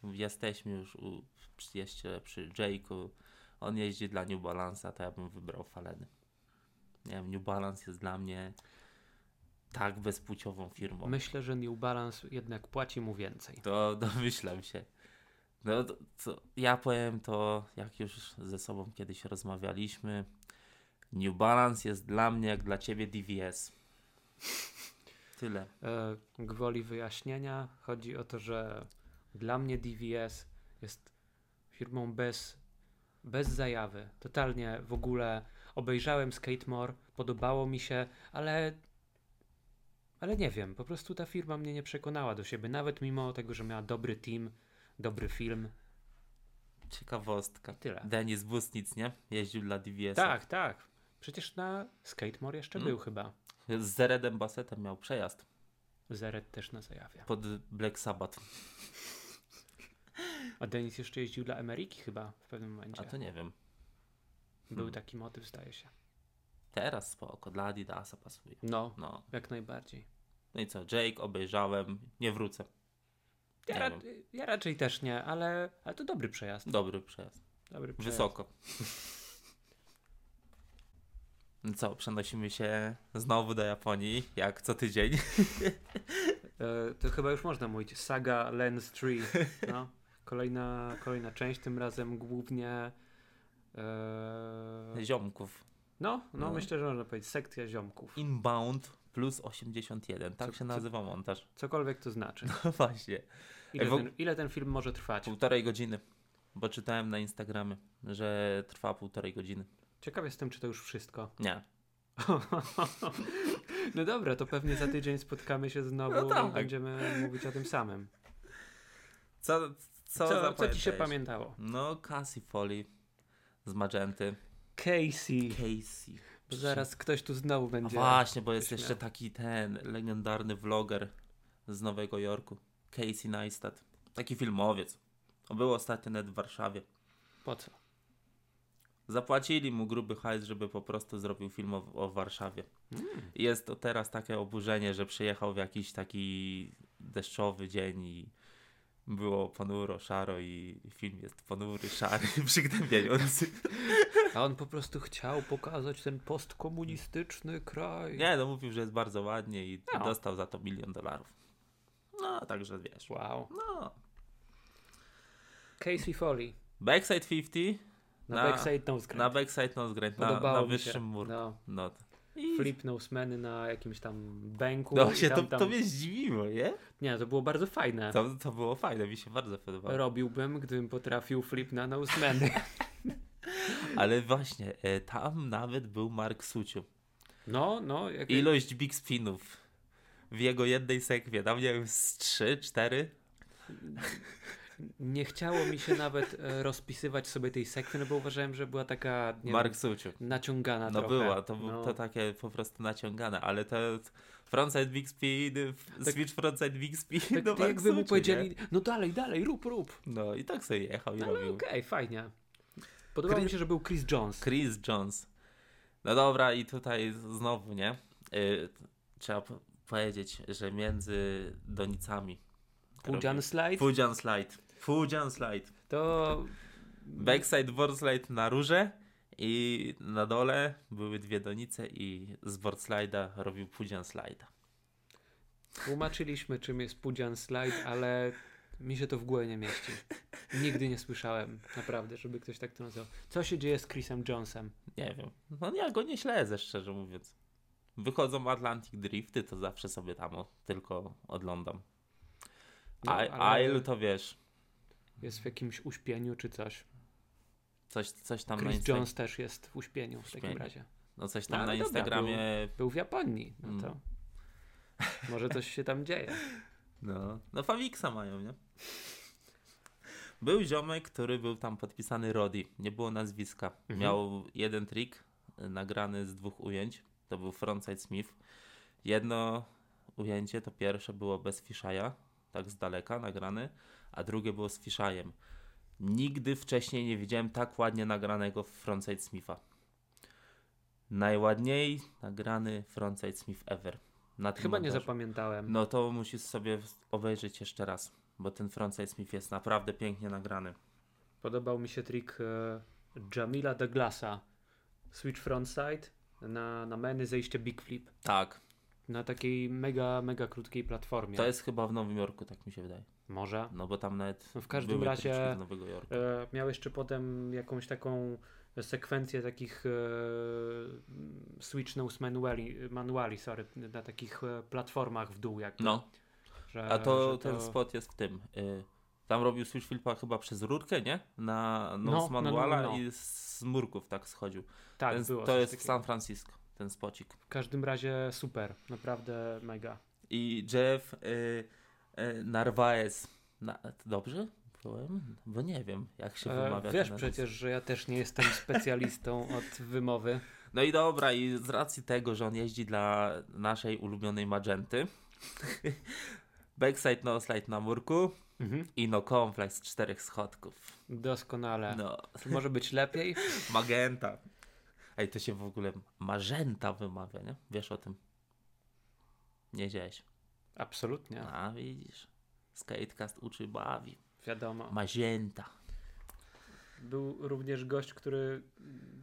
A: jesteśmy już u, przy- jeszcze przy Jake'u, on jeździ dla New Balance'a, to ja bym wybrał Faleny. Nie wiem, New Balance jest dla mnie tak bezpłciową firmą.
B: Myślę, że New Balance jednak płaci mu więcej.
A: To domyślam się. No to, co, ja powiem to, jak już ze sobą kiedyś rozmawialiśmy. New Balance jest dla mnie jak dla ciebie DVS. Tyle.
B: E, gwoli wyjaśnienia chodzi o to, że dla mnie DVS jest firmą bez, bez zajawy. Totalnie w ogóle obejrzałem Skatemore, podobało mi się, ale ale nie wiem, po prostu ta firma mnie nie przekonała do siebie, nawet mimo tego, że miała dobry team, dobry film.
A: Ciekawostka.
B: Tyle.
A: Denis Busnic, nie? Jeździł dla DVS.
B: Tak, tak. Przecież na Skatemore jeszcze
A: Mm.
B: był chyba.
A: Z Zeredem Bassetem miał przejazd
B: Zeret też na zajawie.
A: pod Black Sabbath.
B: A Denis jeszcze jeździł dla Ameryki chyba w pewnym
A: A
B: momencie.
A: to nie wiem.
B: Był taki motyw, zdaje się.
A: Teraz spoko, dla Adidasa pasuje.
B: No,
A: No.
B: jak najbardziej.
A: No i co, Jake obejrzałem, nie wrócę.
B: Ja,
A: Nie
B: ra- ja raczej też nie, ale, ale to dobry przejazd.
A: Dobry przejazd.
B: Dobry przejazd.
A: Wysoko. No Co, przenosimy się znowu do Japonii, jak co tydzień.
B: E, to chyba już można mówić. Saga Lens 3. No. Kolejna, kolejna część, tym razem głównie. E,
A: Ziomków.
B: no, no,
A: No.
B: myślę, że można powiedzieć. Sekcja ziomków.
A: Inbound plus 81. Tak
B: Co-
A: się nazywa montaż.
B: Cokolwiek to znaczy.
A: No właśnie.
B: Ile,
A: E, w-
B: ten, ile ten film może trwać?
A: Półtorej godziny. Bo czytałem na Instagramie, że trwa półtorej godziny.
B: Ciekaw jestem, czy to już wszystko.
A: Nie.
B: No dobra, to pewnie za tydzień spotkamy się znowu
A: No tak.
B: i będziemy mówić o tym samym.
A: Co, co,
B: Co, co ci się
A: zapamiętałeś?
B: pamiętało?
A: No, Cassie Foley z Magenty.
B: Casey.
A: Casey.
B: Bo Zaraz ktoś tu znowu
A: A
B: będzie.
A: No właśnie, bo jest
B: Śmiał.
A: jeszcze taki ten legendarny vloger z Nowego Jorku. Casey Neistat. Taki filmowiec. On był ostatnio nawet w Warszawie.
B: Po co?
A: Zapłacili mu gruby hajs, żeby po prostu zrobił film o, o Warszawie.
B: Hmm.
A: I Jest to teraz takie oburzenie, że przyjechał w jakiś taki deszczowy dzień i było ponuro, szaro i film jest ponury, szary, przygnębiający.
B: A on po prostu chciał pokazać ten postkomunistyczny kraj.
A: Nie, no mówił, że jest bardzo ładnie i
B: No.
A: dostał za to milion dolarów. No, także wiesz.
B: Wow.
A: No.
B: Casey Foley.
A: Backside 50
B: Na,
A: Na-
B: backside nose
A: na
B: grind.
A: backside nose grind, na,
B: Podobało
A: na
B: mi się.
A: wyższym murku.
B: No.
A: No. to- I...
B: Flip nosemeny na jakimś tam bęku.
A: No
B: i
A: się,
B: tam,
A: to,
B: tam...
A: to mnie zdziwiło, nie?
B: Nie, to było bardzo fajne.
A: To, to było fajne, mi się bardzo podobało.
B: Robiłbym, gdybym potrafił flip na no nosemeny.
A: Ale właśnie, e, tam nawet był Mark Suciu.
B: No, no. Jak...
A: Ilość big spinów w jego jednej sekwie, tam nie wiem, z 3, 4.
B: Nie chciało mi się nawet e, rozpisywać sobie tej sekty, no bo uważałem, że była taka nie
A: Mark
B: wiem,
A: Suciu.
B: naciągana
A: No
B: trochę.
A: była, to, był
B: No.
A: to takie po prostu naciągane, ale to frontside Big Speed, f-
B: Tak-
A: switch frontside Big Speed,
B: Tak,
A: no
B: tak
A: Mark
B: jakby mu
A: Suciu,
B: powiedzieli,
A: Nie?
B: no dalej, dalej, rób, rób.
A: No i tak sobie jechał i
B: No, Ale okej,
A: robił.
B: fajnie. Podobało
A: Chris-
B: mi się, że był Chris Jones.
A: Chris Jones. No dobra, i tutaj znowu, nie? Y, t- trzeba p- powiedzieć, że między donicami.
B: Pujan Slide,
A: Fujian Slide. Fujian Slide.
B: to
A: Backside boardslide na rurze i na dole były dwie donice i z boardslide'a robił Fujian Slide'a.
B: tłumaczyliśmy czym jest Pujan Slide, ale mi się to w głowie nie mieści. Nigdy nie słyszałem, naprawdę, żeby ktoś tak to nazwał. Co się dzieje z Chrisem Jonesem?
A: Nie wiem. No ja go nie śledzę, szczerze mówiąc. Wychodzą Atlantic Drifty, to zawsze sobie tam o, tylko oglądam.
B: No,
A: A, a
B: ale-
A: ilu to wiesz?
B: Jest w jakimś uśpieniu czy coś.
A: Coś, coś tam na
B: Chris
A: Instagramie.
B: Jones też jest w uśpieniu w takim
A: Uśpieniu.
B: razie.
A: No coś tam
B: No,
A: na
B: ale dobra,
A: Instagramie.
B: Był w Japonii, no
A: Mm.
B: to może coś się tam dzieje.
A: No. No Fawiksa mają, nie? Był ziomek, który był tam podpisany Rodi. Nie było nazwiska.
B: Mhm.
A: Miał jeden trik y, nagrany z dwóch ujęć. To był Frontside Smith. Jedno ujęcie, to pierwsze było bez fiszaja, tak z daleka nagrane, a drugie było z fiszajem. Nigdy wcześniej nie widziałem tak ładnie nagranego Frontside Smitha. Najładniej nagrany Frontside Smith ever. Na tym
B: Chyba nie
A: montażu.
B: zapamiętałem.
A: No to musisz sobie obejrzeć jeszcze raz, bo ten Frontside Smith jest naprawdę pięknie nagrany.
B: Podobał mi się trik e, Jamila Douglasa. Switch frontside na, na meny zejście big flip.
A: Tak,
B: Na takiej mega, mega krótkiej platformie.
A: to jest chyba w Nowym Jorku, tak mi się wydaje.
B: Może.
A: No bo tam nawet.
B: No w każdym
A: były
B: razie-
A: troszeczkę z Nowego Jorku.
B: E, miał jeszcze potem jakąś taką sekwencję takich e, switch nose manuali, manuali sorry, na takich e, platformach w dół. Jakby,
A: No,
B: że,
A: a to
B: Eee, że
A: ten spot jest w tym. Y, tam robił Switch Flipa chyba przez rurkę, nie? Na no,
B: No,
A: z manuala
B: no, no, no.
A: i z murków tak schodził.
B: tak,
A: ten,
B: było
A: to
B: coś
A: jest w
B: takiego.
A: San Francisco, ten spocik.
B: W każdym razie super, naprawdę mega.
A: I Jeff y, y, Narvaez. Na, dobrze? Byłem? Bo nie wiem, jak się
B: E,
A: wymawia.
B: Wiesz
A: ten nazwisko.
B: przecież, że ja też nie jestem specjalistą od wymowy.
A: No i dobra, i z racji tego, że on jeździ dla naszej ulubionej Magenty, backside no slide na murku
B: Mhm.
A: i no complex z czterech schodków.
B: Doskonale.
A: No,
B: Czy może być lepiej?
A: Magenta. Ej, to się w ogóle Magenta wymawia, nie? Wiesz o tym? Nie dzieś.
B: Absolutnie,
A: A widzisz, skatecast uczy, bawi.
B: wiadomo.
A: Magenta.
B: Był również gość, który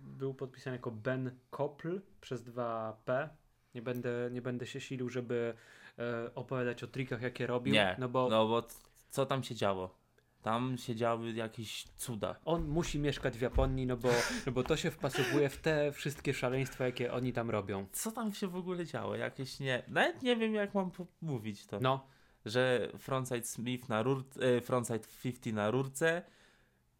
B: był podpisany jako Ben Kopl przez 2P. Nie będę, nie będę się silił, żeby e, opowiadać o trikach, jakie robił,
A: Nie,
B: no bo
A: c- co tam się działo? Tam się działy jakieś cuda.
B: on musi mieszkać w Japonii, no bo, no bo to się wpasowuje w te wszystkie szaleństwa, jakie oni tam robią.
A: Co tam się w ogóle działo? Jakieś nie... Nawet nie wiem, jak mam po- mówić to.
B: No,
A: że frontside Smith na rurce, e, frontside 50 na rurce,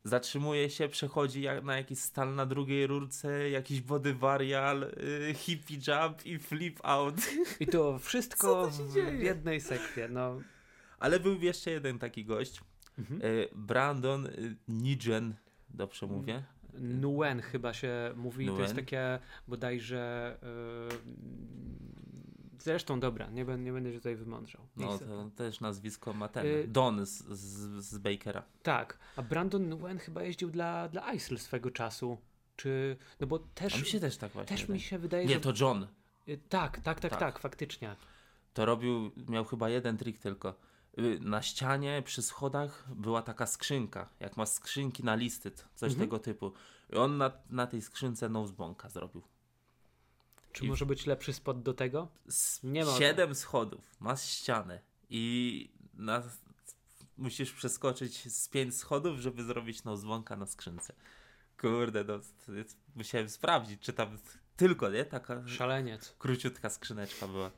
A: zatrzymuje się, przechodzi jak na jakiś stan na drugiej rurce, jakiś body varial, y, hippie jump i flip out.
B: i to wszystko
A: Co to się
B: w
A: dzieje?
B: jednej sekwie, no.
A: Ale był jeszcze jeden taki gość,
B: Mhm.
A: y, Brandon y, Nijen, dobrze
B: Mm,
A: mówię?
B: Nuen chyba się mówi, to jest
A: Nuen?
B: takie bodajże. Yy... Zresztą dobra, nie, bę- nie będę się tutaj wymądrzał.
A: No
B: Nic.
A: to też nazwisko ma ten,
B: Y-
A: Don z, z, z Bakera.
B: Tak, a Brandon Nuen chyba jeździł dla, dla ISIL swego czasu. Czy. No bo
A: A mi
B: też.
A: się też tak właśnie
B: też mi
A: wydaje.
B: się wydaje,
A: Nie,
B: że.
A: to John.
B: y, Tak, tak, tak,
A: Tak.
B: tak, faktycznie.
A: To robił, miał chyba jeden trik tylko. Y, Na ścianie przy schodach była taka skrzynka, jak ma skrzynki na listy, t- coś
B: Mhm.
A: tego typu. I on na, na tej skrzynce nosebonka zrobił.
B: Czy
A: I-
B: może być lepszy spot do tego?
A: Z
B: Nie ma-
A: siedem schodów, masz ścianę i na, musisz przeskoczyć z pięć schodów, żeby zrobić nosebonka na skrzynce. Kurde, no, to jest- musiałem sprawdzić, czy tam tylko, nie? Taka
B: Szaleniec.
A: króciutka skrzyneczka była.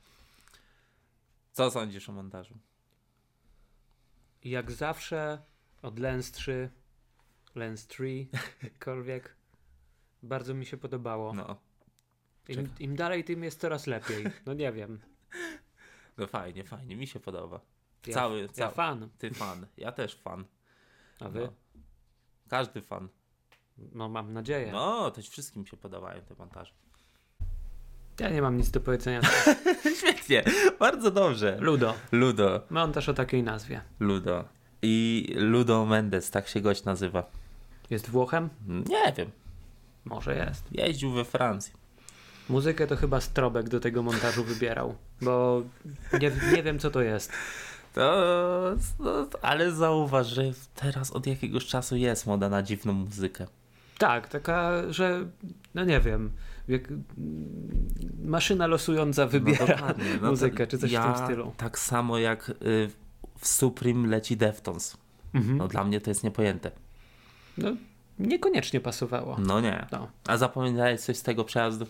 A: Co sądzisz o montażu?
B: I Jak zawsze od Lens 3, Lens 3, jakkolwiek. Bardzo mi się podobało.
A: No.
B: Im, Im dalej, tym jest coraz lepiej. No nie wiem.
A: No fajnie, fajnie, mi się podoba.
B: Ja,
A: Cały,
B: ja
A: cały.
B: fan.
A: Ty fan, ja też fan.
B: A wy?
A: No. Każdy fan.
B: No mam nadzieję.
A: No, to wszystkim się podobają te montaże.
B: Ja nie mam nic do powiedzenia.
A: Świetnie, bardzo dobrze.
B: Ludo.
A: Ludo,
B: Montaż o takiej nazwie.
A: Ludo. I Ludo Mendes, tak się gość nazywa.
B: Jest Włochem?
A: Nie wiem,
B: Może jest.
A: jeździł we Francji.
B: Muzykę to chyba Strobek do tego montażu wybierał, bo nie, nie wiem co to jest.
A: To, no, ale zauważ, że teraz od jakiegoś czasu jest moda na dziwną muzykę.
B: Tak, taka, że no nie wiem, jak, maszyna losująca wybiera
A: dokładnie, no to
B: muzykę, czy coś
A: ja,
B: w tym stylu.
A: Tak samo jak y, w Supreme leci Deftones.
B: Mhm.
A: No dla mnie to jest niepojęte.
B: No, niekoniecznie pasowało.
A: No nie.
B: No.
A: A zapamiętałeś coś z tego przejazdu?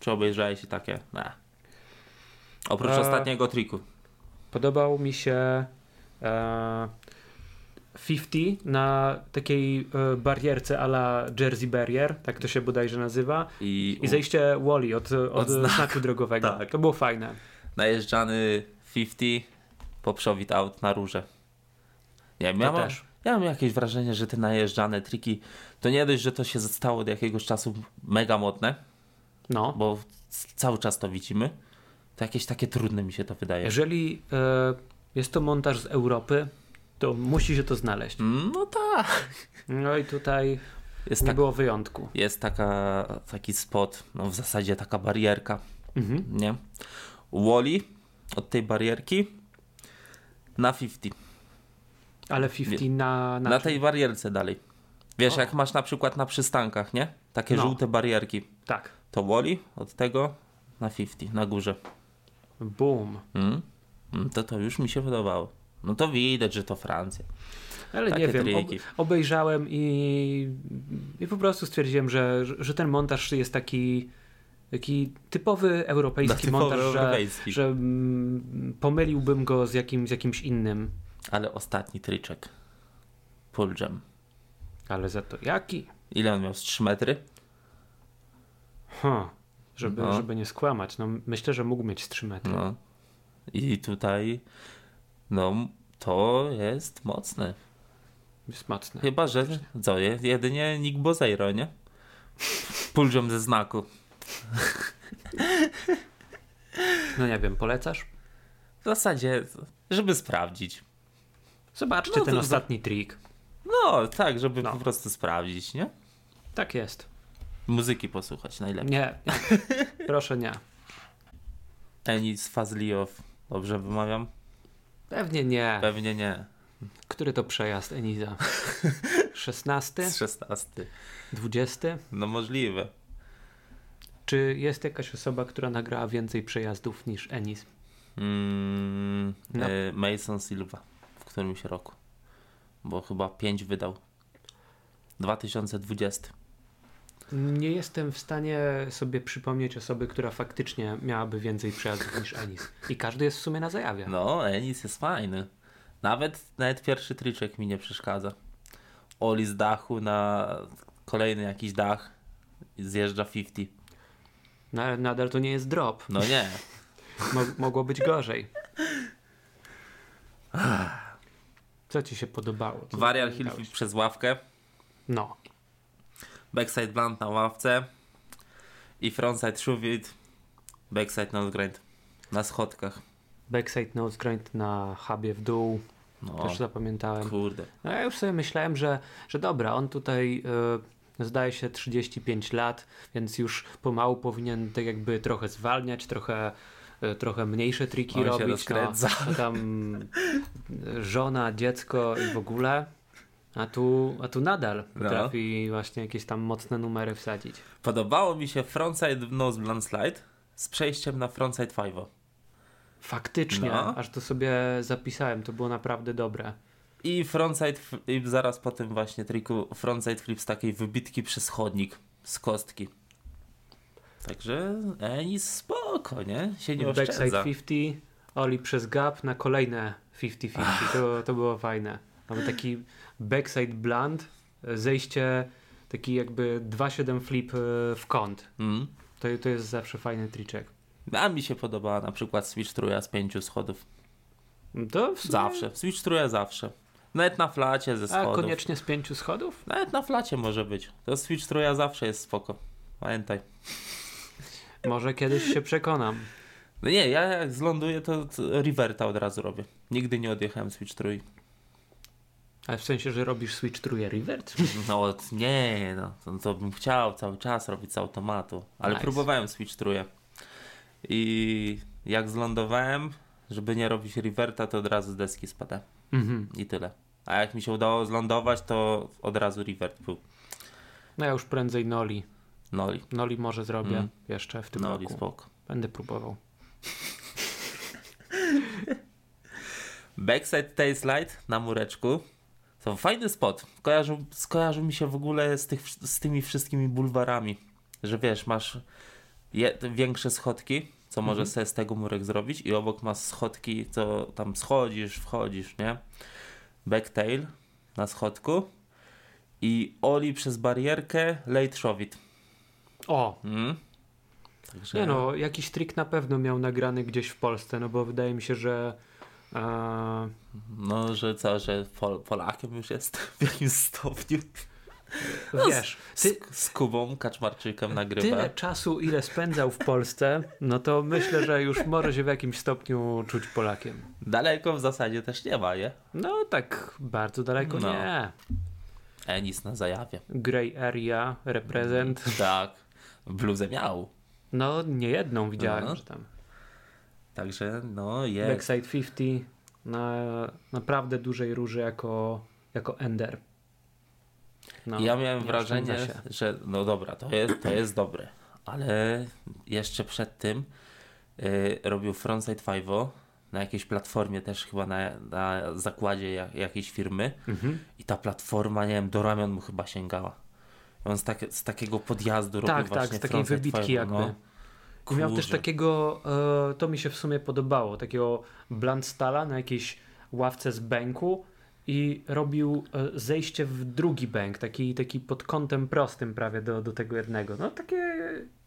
A: Czy obejrzałeś i takie? Nie. Oprócz
B: E,
A: ostatniego triku.
B: Podobał mi się e, 50 na takiej e, barierce a la Jersey Barrier, tak to się bodajże nazywa.
A: I,
B: I zejście Woli od, od,
A: Od
B: znaku,
A: znaku.
B: drogowego.
A: Tak.
B: To było fajne.
A: najeżdżany 50 poprzowit out na róże. Nie wiem,
B: To
A: ja mam,
B: też.
A: ja mam jakieś wrażenie, że te najeżdżane triki, to nie dość, że to się stało od jakiegoś czasu mega modne,
B: No.
A: bo c- cały czas to widzimy, to jakieś takie trudne mi się to wydaje.
B: Jeżeli e, jest to montaż z Europy, to musi się to znaleźć.
A: No tak.
B: No i tutaj
A: Jest,
B: nie
A: tak,
B: było wyjątku.
A: jest taka, taki spot, no w zasadzie taka barierka,
B: Mhm.
A: nie? Woli od tej barierki na 50.
B: Ale 50 na, na,
A: Na tej barierce dalej. Wiesz,
B: O.
A: jak masz na przykład na przystankach, nie? Takie
B: No.
A: żółte barierki.
B: Tak.
A: To Woli od tego na 50, na górze.
B: Boom.
A: Mm? Mm, To to już mi się podobało. No to widać, że to Francja.
B: Ale
A: Takie
B: nie wiem, ob,
A: triki.
B: obejrzałem i, i po prostu stwierdziłem, że, że ten montaż jest taki, taki typowy europejski
A: No, typowy
B: montaż,
A: europejski.
B: że, że mm, pomyliłbym go z, jakim, z jakimś innym.
A: Ale ostatni tryczek. Pull jam.
B: Ale za to jaki?
A: Ile on miał? Z 3 metry?
B: Huh. Żeby,
A: No.
B: żeby nie skłamać. No, myślę, że mógł mieć 3 metry.
A: No. I tutaj, no, to jest mocne.
B: Jest mocny.
A: Chyba, że co, je- jedynie Nick Bozeiro, nie? Pull jam ze znaku.
B: No nie wiem, polecasz?
A: W zasadzie, żeby sprawdzić.
B: Zobaczcie
A: No
B: ten
A: to-
B: ostatni trik.
A: No, tak, żeby
B: No.
A: po prostu sprawdzić, nie?
B: Tak jest.
A: Muzyki posłuchać najlepiej.
B: Nie. Proszę nie.
A: Enis Fazliow, dobrze wymawiam?
B: Pewnie nie.
A: Pewnie nie.
B: Który to przejazd, Eniza? 16?
A: Z 16.
B: 20?
A: No możliwe.
B: Czy jest jakaś osoba, która nagrała więcej przejazdów niż Enis?
A: Mm,
B: No.
A: e, Mason Silva w którymś roku. Bo chyba 5 wydał. 2020.
B: Nie jestem w stanie sobie przypomnieć osoby, która faktycznie miałaby więcej przejazdów niż Enis. I każdy jest w sumie na zajawie.
A: No, Enis jest fajny. Nawet, nawet pierwszy triczek mi nie przeszkadza. Oli z dachu na kolejny jakiś dach. Zjeżdża 50.
B: No, ale nadal to nie jest drop.
A: No nie.
B: Mo- mogło być gorzej. Co ci się podobało? Co
A: Ah. Varial Hill
B: oglądałeś?
A: przez ławkę.
B: No.
A: Backside blunt na ławce i frontside shuvid, backside nose grind na schodkach.
B: Backside nose grind na hubie w dół.
A: No,
B: Też zapamiętałem.
A: kurde.
B: No ja już sobie myślałem, że, że dobra, on tutaj y, zdaje się 35 lat, więc już pomału powinien tak jakby trochę zwalniać, trochę, y, trochę mniejsze triki
A: On się
B: robić.
A: rozkręca.
B: No, tam y, żona, dziecko i w ogóle. A tu, a tu nadal
A: No.
B: potrafi właśnie jakieś tam mocne numery wsadzić.
A: Podobało mi się frontside nose blunt slide z przejściem na frontside five'o.
B: Faktycznie,
A: No.
B: aż to sobie zapisałem, to było naprawdę dobre.
A: I frontside, f- i zaraz po tym właśnie triku frontside flip z takiej wybitki przez chodnik z kostki. Także Enis spoko, nie? Się nie
B: No, Backside
A: No, oszczędza.
B: 50, Oli przez gap na kolejne 50-50. To, to było fajne. Mamy taki backside blunt, zejście taki jakby 2-7 flip e, w kąt.
A: Mm.
B: To, to jest zawsze fajny triczek.
A: A mi się podobała na przykład switch truja z pięciu schodów.
B: To w sumie
A: Zawsze. Switch truja zawsze. Nawet na flacie ze
B: A
A: schodów.
B: koniecznie z pięciu schodów?
A: Nawet na flacie może być. To Switch Troja zawsze jest spoko. Pamiętaj.
B: Może kiedyś się przekonam.
A: No nie, ja jak zląduję, to to reverta od razu robię. Nigdy nie odjechałem Switch Trój.
B: Ale w sensie, że robisz Switch True Revert?
A: No od- nie, no to, to bym chciał cały czas robić z automatu, ale
B: Nice.
A: próbowałem Switch Trójkę. I jak zlądowałem, żeby nie robić reverta, to od razu z deski spada
B: Mhm.
A: i tyle. A jak mi się udało zlądować, to od razu revert był.
B: No ja już prędzej Noli.
A: No i
B: Noli może zrobię
A: Mm.
B: jeszcze w tym
A: no i
B: roku.
A: spoko.
B: Będę próbował.
A: Backside Tail Slide na mureczku. To fajny spot. Kojarzył, skojarzył mi się w ogóle z, tych, z tymi wszystkimi bulwarami. Że wiesz, masz je, większe schodki, co możesz
B: Mhm.
A: sobie z tego murek zrobić i obok masz schodki, co tam schodzisz, wchodzisz, nie? Backtail na schodku i Oli przez barierkę late showit.
B: O!
A: Mm. Także...
B: Nie no, jakiś trik na pewno miał nagrany gdzieś w Polsce, no bo wydaje mi się, że e,
A: no, że co, że Pol- Polakiem już jest w jakimś stopniu.
B: wiesz, ty,
A: No, Z, z Kubą Kaczmarczykiem nagrywa.
B: tyle czasu, ile spędzał w Polsce, no to myślę, że już może się w jakimś stopniu czuć Polakiem.
A: Daleko w zasadzie też nie ma, nie?
B: No tak bardzo daleko
A: No.
B: nie.
A: Enis E, na zajawie.
B: Grey Area, reprezent.
A: Tak. Bluzę miał.
B: No nie jedną widziałem,
A: No.
B: że tam.
A: Także no jest.
B: Backside 50 na naprawdę dużej róży jako, jako Ender. No,
A: ja miałem
B: nie
A: wrażenie,
B: oszczędza się.
A: że no dobra, to jest, to jest dobre. Ale jeszcze przed tym y, robił Frontside 5 na jakiejś platformie też chyba na, na zakładzie jak, jakiejś firmy
B: Mhm.
A: i ta platforma, nie wiem, do ramion mu chyba sięgała. I On z, takie, z takiego podjazdu robił
B: tak,
A: właśnie
B: z takiej
A: frontside
B: wybitki
A: 5,
B: jakby.
A: No.
B: Miał też
A: Kurczę.
B: takiego, e, to mi się w sumie podobało, takiego Blantstala na jakiejś ławce z bęku i robił e, zejście w drugi bęk, taki, taki pod kątem prostym prawie do, do tego jednego. No takie,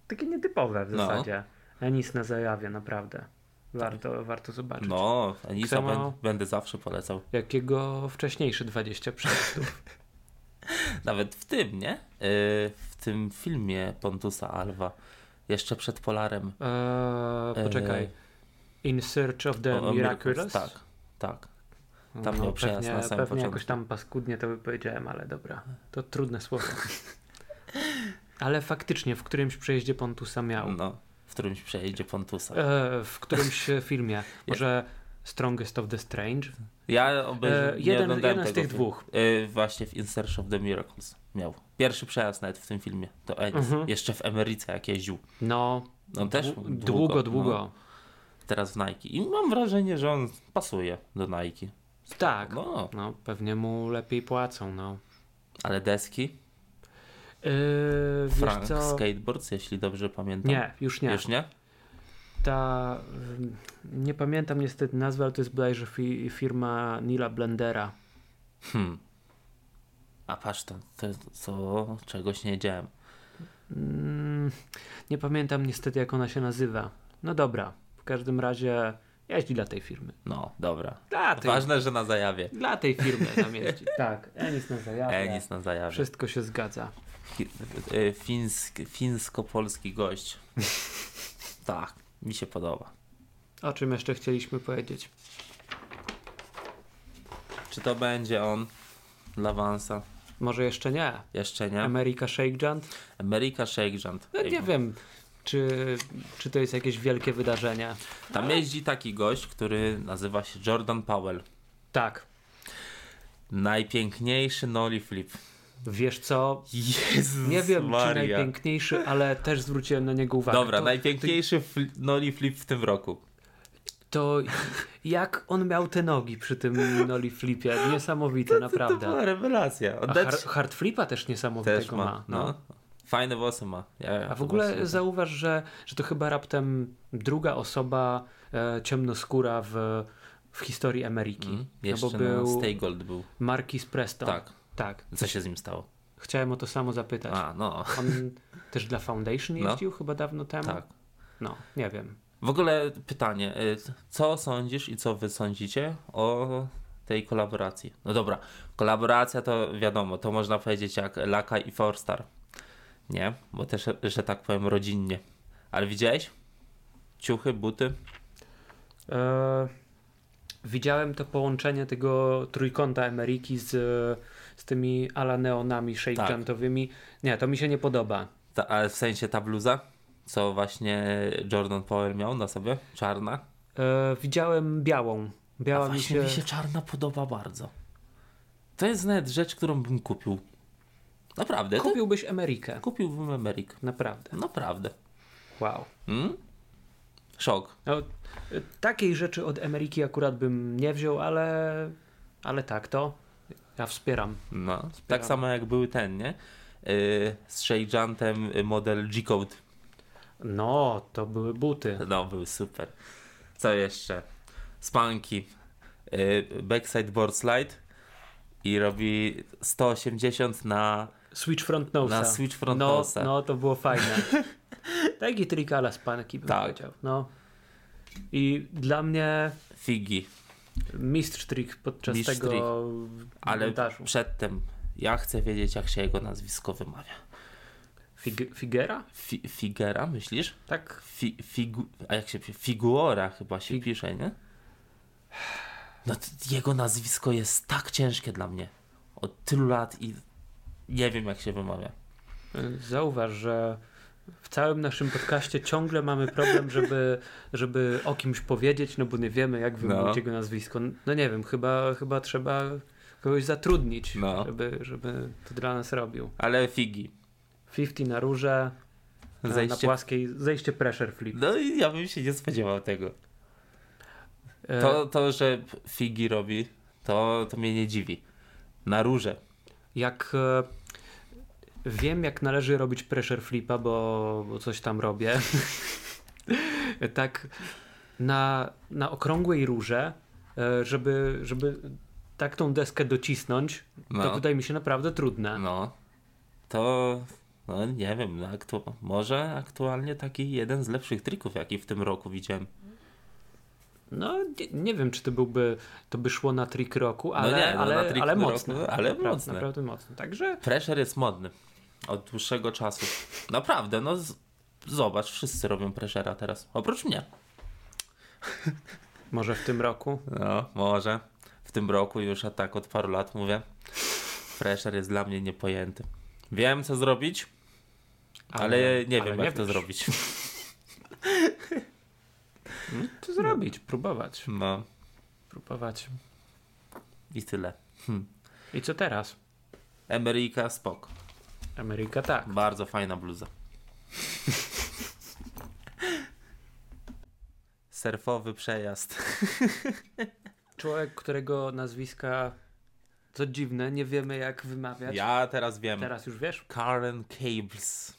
B: takie nietypowe w
A: No.
B: zasadzie. Enis na zajawie, naprawdę. Warto, warto zobaczyć.
A: No, Anisa
B: Kto ma-
A: będę, będę zawsze polecał.
B: Jakiego wcześniejszy 20 przejazdów.
A: Nawet w tym, nie? Yy, w tym filmie Pontusa Alva, jeszcze przed Polarem.
B: Eee, poczekaj. In Search of the
A: E, O- o
B: Miraculous?
A: Tak, tak. Tam miał przejazd
B: No pewnie,
A: na samym
B: pewnie
A: początku.
B: jakoś tam paskudnie to by powiedziałem, ale dobra. To trudne słowo. Ale faktycznie w którymś przejeździe Pontusa miał.
A: No, tak. w którymś przejedzie Pontusa.
B: Eee, w którymś filmie. Może Strongest of the Strange?
A: Ja obejrzałem.
B: E,
A: nie
B: jeden-
A: oglądałem
B: jeden z
A: tego
B: tych
A: filmu.
B: dwóch.
A: Yy, właśnie w In Search of the Miracles miał. Pierwszy przejazd nawet w tym filmie. To Enis.
B: Mhm.
A: Jeszcze w Emeryce jak jeździł.
B: No,
A: No też
B: dłu- długo, długo.
A: No, teraz w Nike. I mam wrażenie, że on pasuje do Nike.
B: Tak. No.
A: No,
B: pewnie mu lepiej płacą, no.
A: ale deski?
B: Eee,
A: Frank
B: wiesz co?
A: Skateboards, jeśli dobrze pamiętam.
B: Nie, już nie.
A: Już nie?
B: Ta, ym, nie pamiętam niestety nazwy, ale to jest bodajże fi- firma Nila Blendera.
A: Hmm. A patrz, to, to, to czegoś nie wiedziałem.
B: Mm, nie pamiętam niestety jak ona się nazywa. No dobra, w każdym razie jeździ dla tej firmy.
A: No, dobra.
B: Dla tej,
A: Ważne, że na zajawie.
B: dla tej firmy tam jeździ. tak, Enis na zajawę.
A: Enis na zajawie.
B: Wszystko się zgadza.
A: Fi- y, Fińsk, fińsko-polski gość. tak, mi się podoba.
B: O czym jeszcze chcieliśmy powiedzieć?
A: Czy to będzie on dla Vansa?
B: Może jeszcze nie.
A: Jeszcze nie?
B: America Shake Junt?
A: America Shake Junt.
B: No nie wiem, czy, czy to jest jakieś wielkie wydarzenie.
A: Tam jeździ taki gość, który nazywa się Jordan Powell.
B: Tak,
A: Najpiękniejszy noli flip.
B: wiesz co?
A: Jezus
B: Nie wiem,
A: Maria.
B: czy najpiękniejszy, ale też zwróciłem na niego uwagę.
A: Dobra,
B: to,
A: najpiękniejszy fli- noli flip w tym roku.
B: to jak on miał te nogi przy tym noli flipie? Niesamowite,
A: To
B: naprawdę.
A: była rewelacja.
B: A
A: Oddać
B: Har- hard flipa też niesamowitego
A: też ma. No. Fajne włosy ma. Ja, ja
B: A w
A: to
B: ogóle
A: właśnie-
B: zauważ, że, że to chyba raptem druga osoba e, ciemnoskóra w, w historii Ameryki.
A: Mm,
B: no bo
A: Jeszcze
B: był
A: na Stay Gold był.
B: Marquis Presto.
A: Tak.
B: tak.
A: Co się z nim stało?
B: Chciałem o to samo zapytać.
A: A, no.
B: On też dla Foundation
A: No.
B: jeździł chyba dawno temu?
A: Tak.
B: No, nie wiem.
A: W ogóle pytanie. y, Co sądzisz i co wy sądzicie o tej kolaboracji. No dobra, kolaboracja to wiadomo, to można powiedzieć jak Laka i Forstar. Nie, bo też, że tak powiem, rodzinnie. Ale widziałeś? Ciuchy, buty?
B: E, widziałem to połączenie tego trójkąta Emeryki z, z tymi alaneonami
A: Tak.
B: shakejantowymi. Nie, to mi się nie podoba.
A: Ta, ale w sensie ta bluza, co właśnie Jordan Powell miał na sobie, czarna.
B: E, widziałem białą.
A: A
B: Biała mi
A: właśnie
B: się...
A: mi się czarna podoba bardzo. To jest nawet rzecz, którą bym kupił. Naprawdę. Kupi...
B: Kupiłbyś Emerykę.
A: Kupiłbym Emeryk.
B: Naprawdę.
A: Naprawdę.
B: Wow.
A: Mm? Szok.
B: No, e, takiej rzeczy od Emeryki akurat bym nie wziął, ale, ale tak to ja wspieram.
A: No. Tak samo jak był ten, nie? Yy, z Shakejantem model G-Code.
B: No, to były buty.
A: No, był super. Co jeszcze? Spanki. Yy, backside board slide. I robi 180 na
B: Switch front nosa.
A: Na switch front
B: no,
A: nosa.
B: No, to było fajne. Taki trikala z panki bym
A: Tak.
B: powiedział. No. I dla mnie
A: figi.
B: mistrz trik podczas
A: Mistrz
B: tego
A: Ale
B: montażu.
A: przedtem ja chcę wiedzieć, jak się jego nazwisko wymawia.
B: Fig- Figera?
A: Fi figera, myślisz?
B: Tak.
A: Fi figu a jak się pisze? Figuora chyba się
B: Fig-
A: pisze, nie? No t- jego nazwisko jest tak ciężkie dla mnie. Od tylu lat i nie wiem, jak się wymawia.
B: E, Zauważ, że w całym naszym podcaście ciągle mamy problem, żeby, żeby o kimś powiedzieć, no bo nie wiemy, jak wymówić
A: No.
B: jego nazwisko. No nie wiem, chyba, chyba trzeba kogoś zatrudnić,
A: No.
B: żeby, żeby to dla nas robił.
A: Ale figi.
B: 50 na róże, na- na
A: Zejście.
B: płaskiej, zejście pressure flip.
A: No i ja bym się nie spodziewał tego.
B: E,
A: To, to że figi robi, to, to mnie nie dziwi. Na róże.
B: Jak e, wiem, jak należy robić pressure flipa, bo, bo coś tam robię. tak na, na okrągłej rurze, e, żeby, żeby tak tą deskę docisnąć,
A: No.
B: to wydaje mi się naprawdę trudne.
A: No, to no nie wiem, no, aktu- może aktualnie taki jeden z lepszych trików, jaki w tym roku widziałem.
B: No nie, nie wiem, czy to byłby, to by szło na trick roku, ale,
A: nie, no,
B: ale,
A: na trick
B: ale
A: roku,
B: mocne.
A: ale
B: Napra-
A: mocne.
B: Naprawdę mocne. Także
A: Pressure jest modny od dłuższego czasu. Naprawdę, no z- zobacz, wszyscy robią pressera teraz, oprócz mnie.
B: może w tym roku.
A: No, może. W tym roku już, a tak od paru lat mówię, pressure jest dla mnie niepojęty. Wiem, co zrobić, ale, nie wiem, jak to
B: wiesz.
A: zrobić.
B: To zrobić, próbować.
A: No
B: Próbować.
A: i tyle. Hmm.
B: I co teraz?
A: Ameryka, spok.
B: Ameryka tak.
A: Bardzo fajna bluza. Surfowy przejazd.
B: Człowiek, którego nazwiska, co dziwne, nie wiemy jak wymawiać.
A: Ja teraz wiem.
B: Teraz już wiesz.
A: Karen Cables.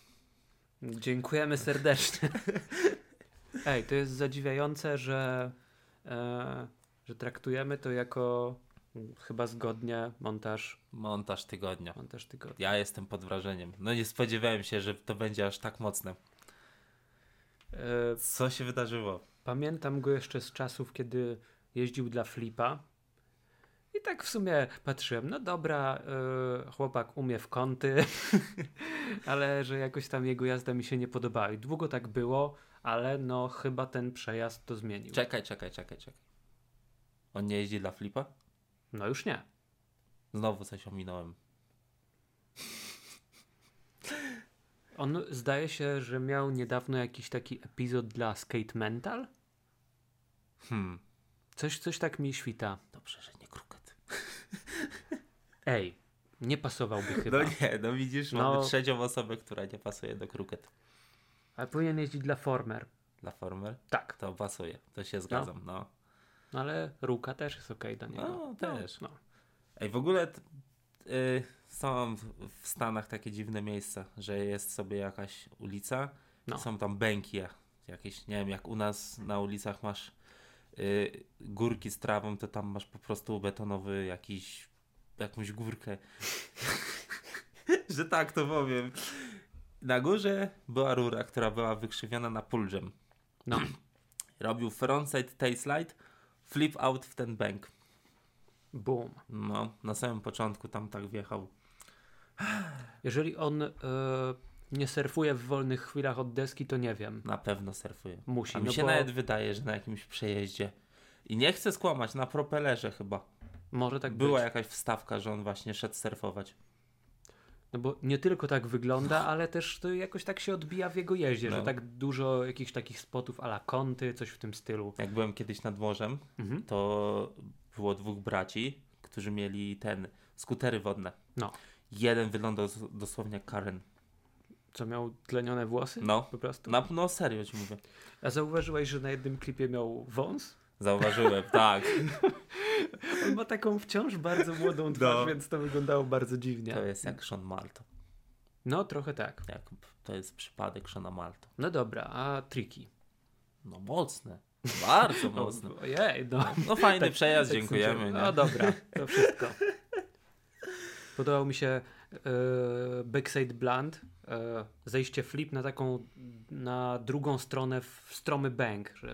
B: Dziękujemy serdecznie. Ej, to jest zadziwiające, że, e, że traktujemy to jako mm, chyba zgodnie montaż,
A: Montaż tygodnia.
B: montaż tygodnia.
A: Ja jestem pod wrażeniem. No nie spodziewałem się, że to będzie aż tak mocne.
B: E,
A: Co się wydarzyło?
B: pamiętam go jeszcze z czasów, kiedy jeździł dla Flipa. I tak w sumie patrzyłem, no dobra, e, chłopak umie w kąty, ale że jakoś tam jego jazda mi się nie podobała. I długo tak było, ale no chyba ten przejazd to zmienił.
A: Czekaj, czekaj, czekaj, czekaj. On nie jeździ dla flipa?
B: No już nie.
A: Znowu coś ominąłem.
B: On zdaje się, że miał niedawno jakiś taki epizod dla Skate Mental.
A: Hmm.
B: Coś, coś tak mi świta.
A: Dobrze, że nie kruket.
B: Ej, nie pasowałby chyba.
A: No nie, no widzisz,
B: No.
A: mamy trzecią osobę, która nie pasuje do kruket.
B: Ale powinien jeździć dla Former.
A: Dla former?
B: Tak.
A: To pasuje, to się zgadzam, no.
B: No ale Ruka też jest okej do niego.
A: No, też.
B: No.
A: Ej, w ogóle t- y, są w- w Stanach takie dziwne miejsca, że jest sobie jakaś ulica,
B: No.
A: są tam bęki jak- jakieś, nie wiem, jak u nas na ulicach masz y, górki z trawą, to tam masz po prostu betonowy jakiś, jakąś górkę. że tak to powiem. Na górze była rura, która była wykrzywiona na pulżem.
B: No.
A: Robił frontside, tailslide, flip out w ten bank.
B: Boom.
A: No, na samym początku tam tak wjechał.
B: Jeżeli on y, nie surfuje w wolnych chwilach od deski, to nie wiem.
A: Na pewno surfuje.
B: Musi,
A: A mi
B: no
A: się
B: bo-
A: nawet wydaje, że na jakimś przejeździe. I nie chcę skłamać, na propelerze chyba.
B: Może tak
A: Była
B: być.
A: jakaś wstawka, że on właśnie szedł surfować.
B: No bo nie tylko tak wygląda, ale też to jakoś tak się odbija w jego jeździe,
A: No.
B: że tak dużo jakichś takich spotów ala kąty, coś w tym stylu.
A: Jak byłem kiedyś nad morzem,
B: Mhm.
A: to było dwóch braci, którzy mieli ten skutery wodne.
B: No,
A: Jeden wyglądał z- dosłownie jak Karen.
B: co miał tlenione włosy?
A: No,
B: Po prostu.
A: na, no serio ci mówię.
B: A zauważyłeś, że na jednym klipie miał wąs?
A: Zauważyłem, tak.
B: On ma taką wciąż bardzo młodą twarz,
A: No.
B: więc to wyglądało bardzo dziwnie.
A: To jest jak Sean Malto.
B: No, trochę tak.
A: Jak, to jest przypadek Seana Malto.
B: No dobra, a triki?
A: No mocne. Bardzo mocne.
B: Ojej, no.
A: No fajny przejazd,
B: Tak
A: dziękujemy.
B: sądziłem.
A: nie?
B: No dobra, to wszystko. Podobał mi się e, Backside Blunt, e, zejście flip na taką, na drugą stronę w stromy bank. E,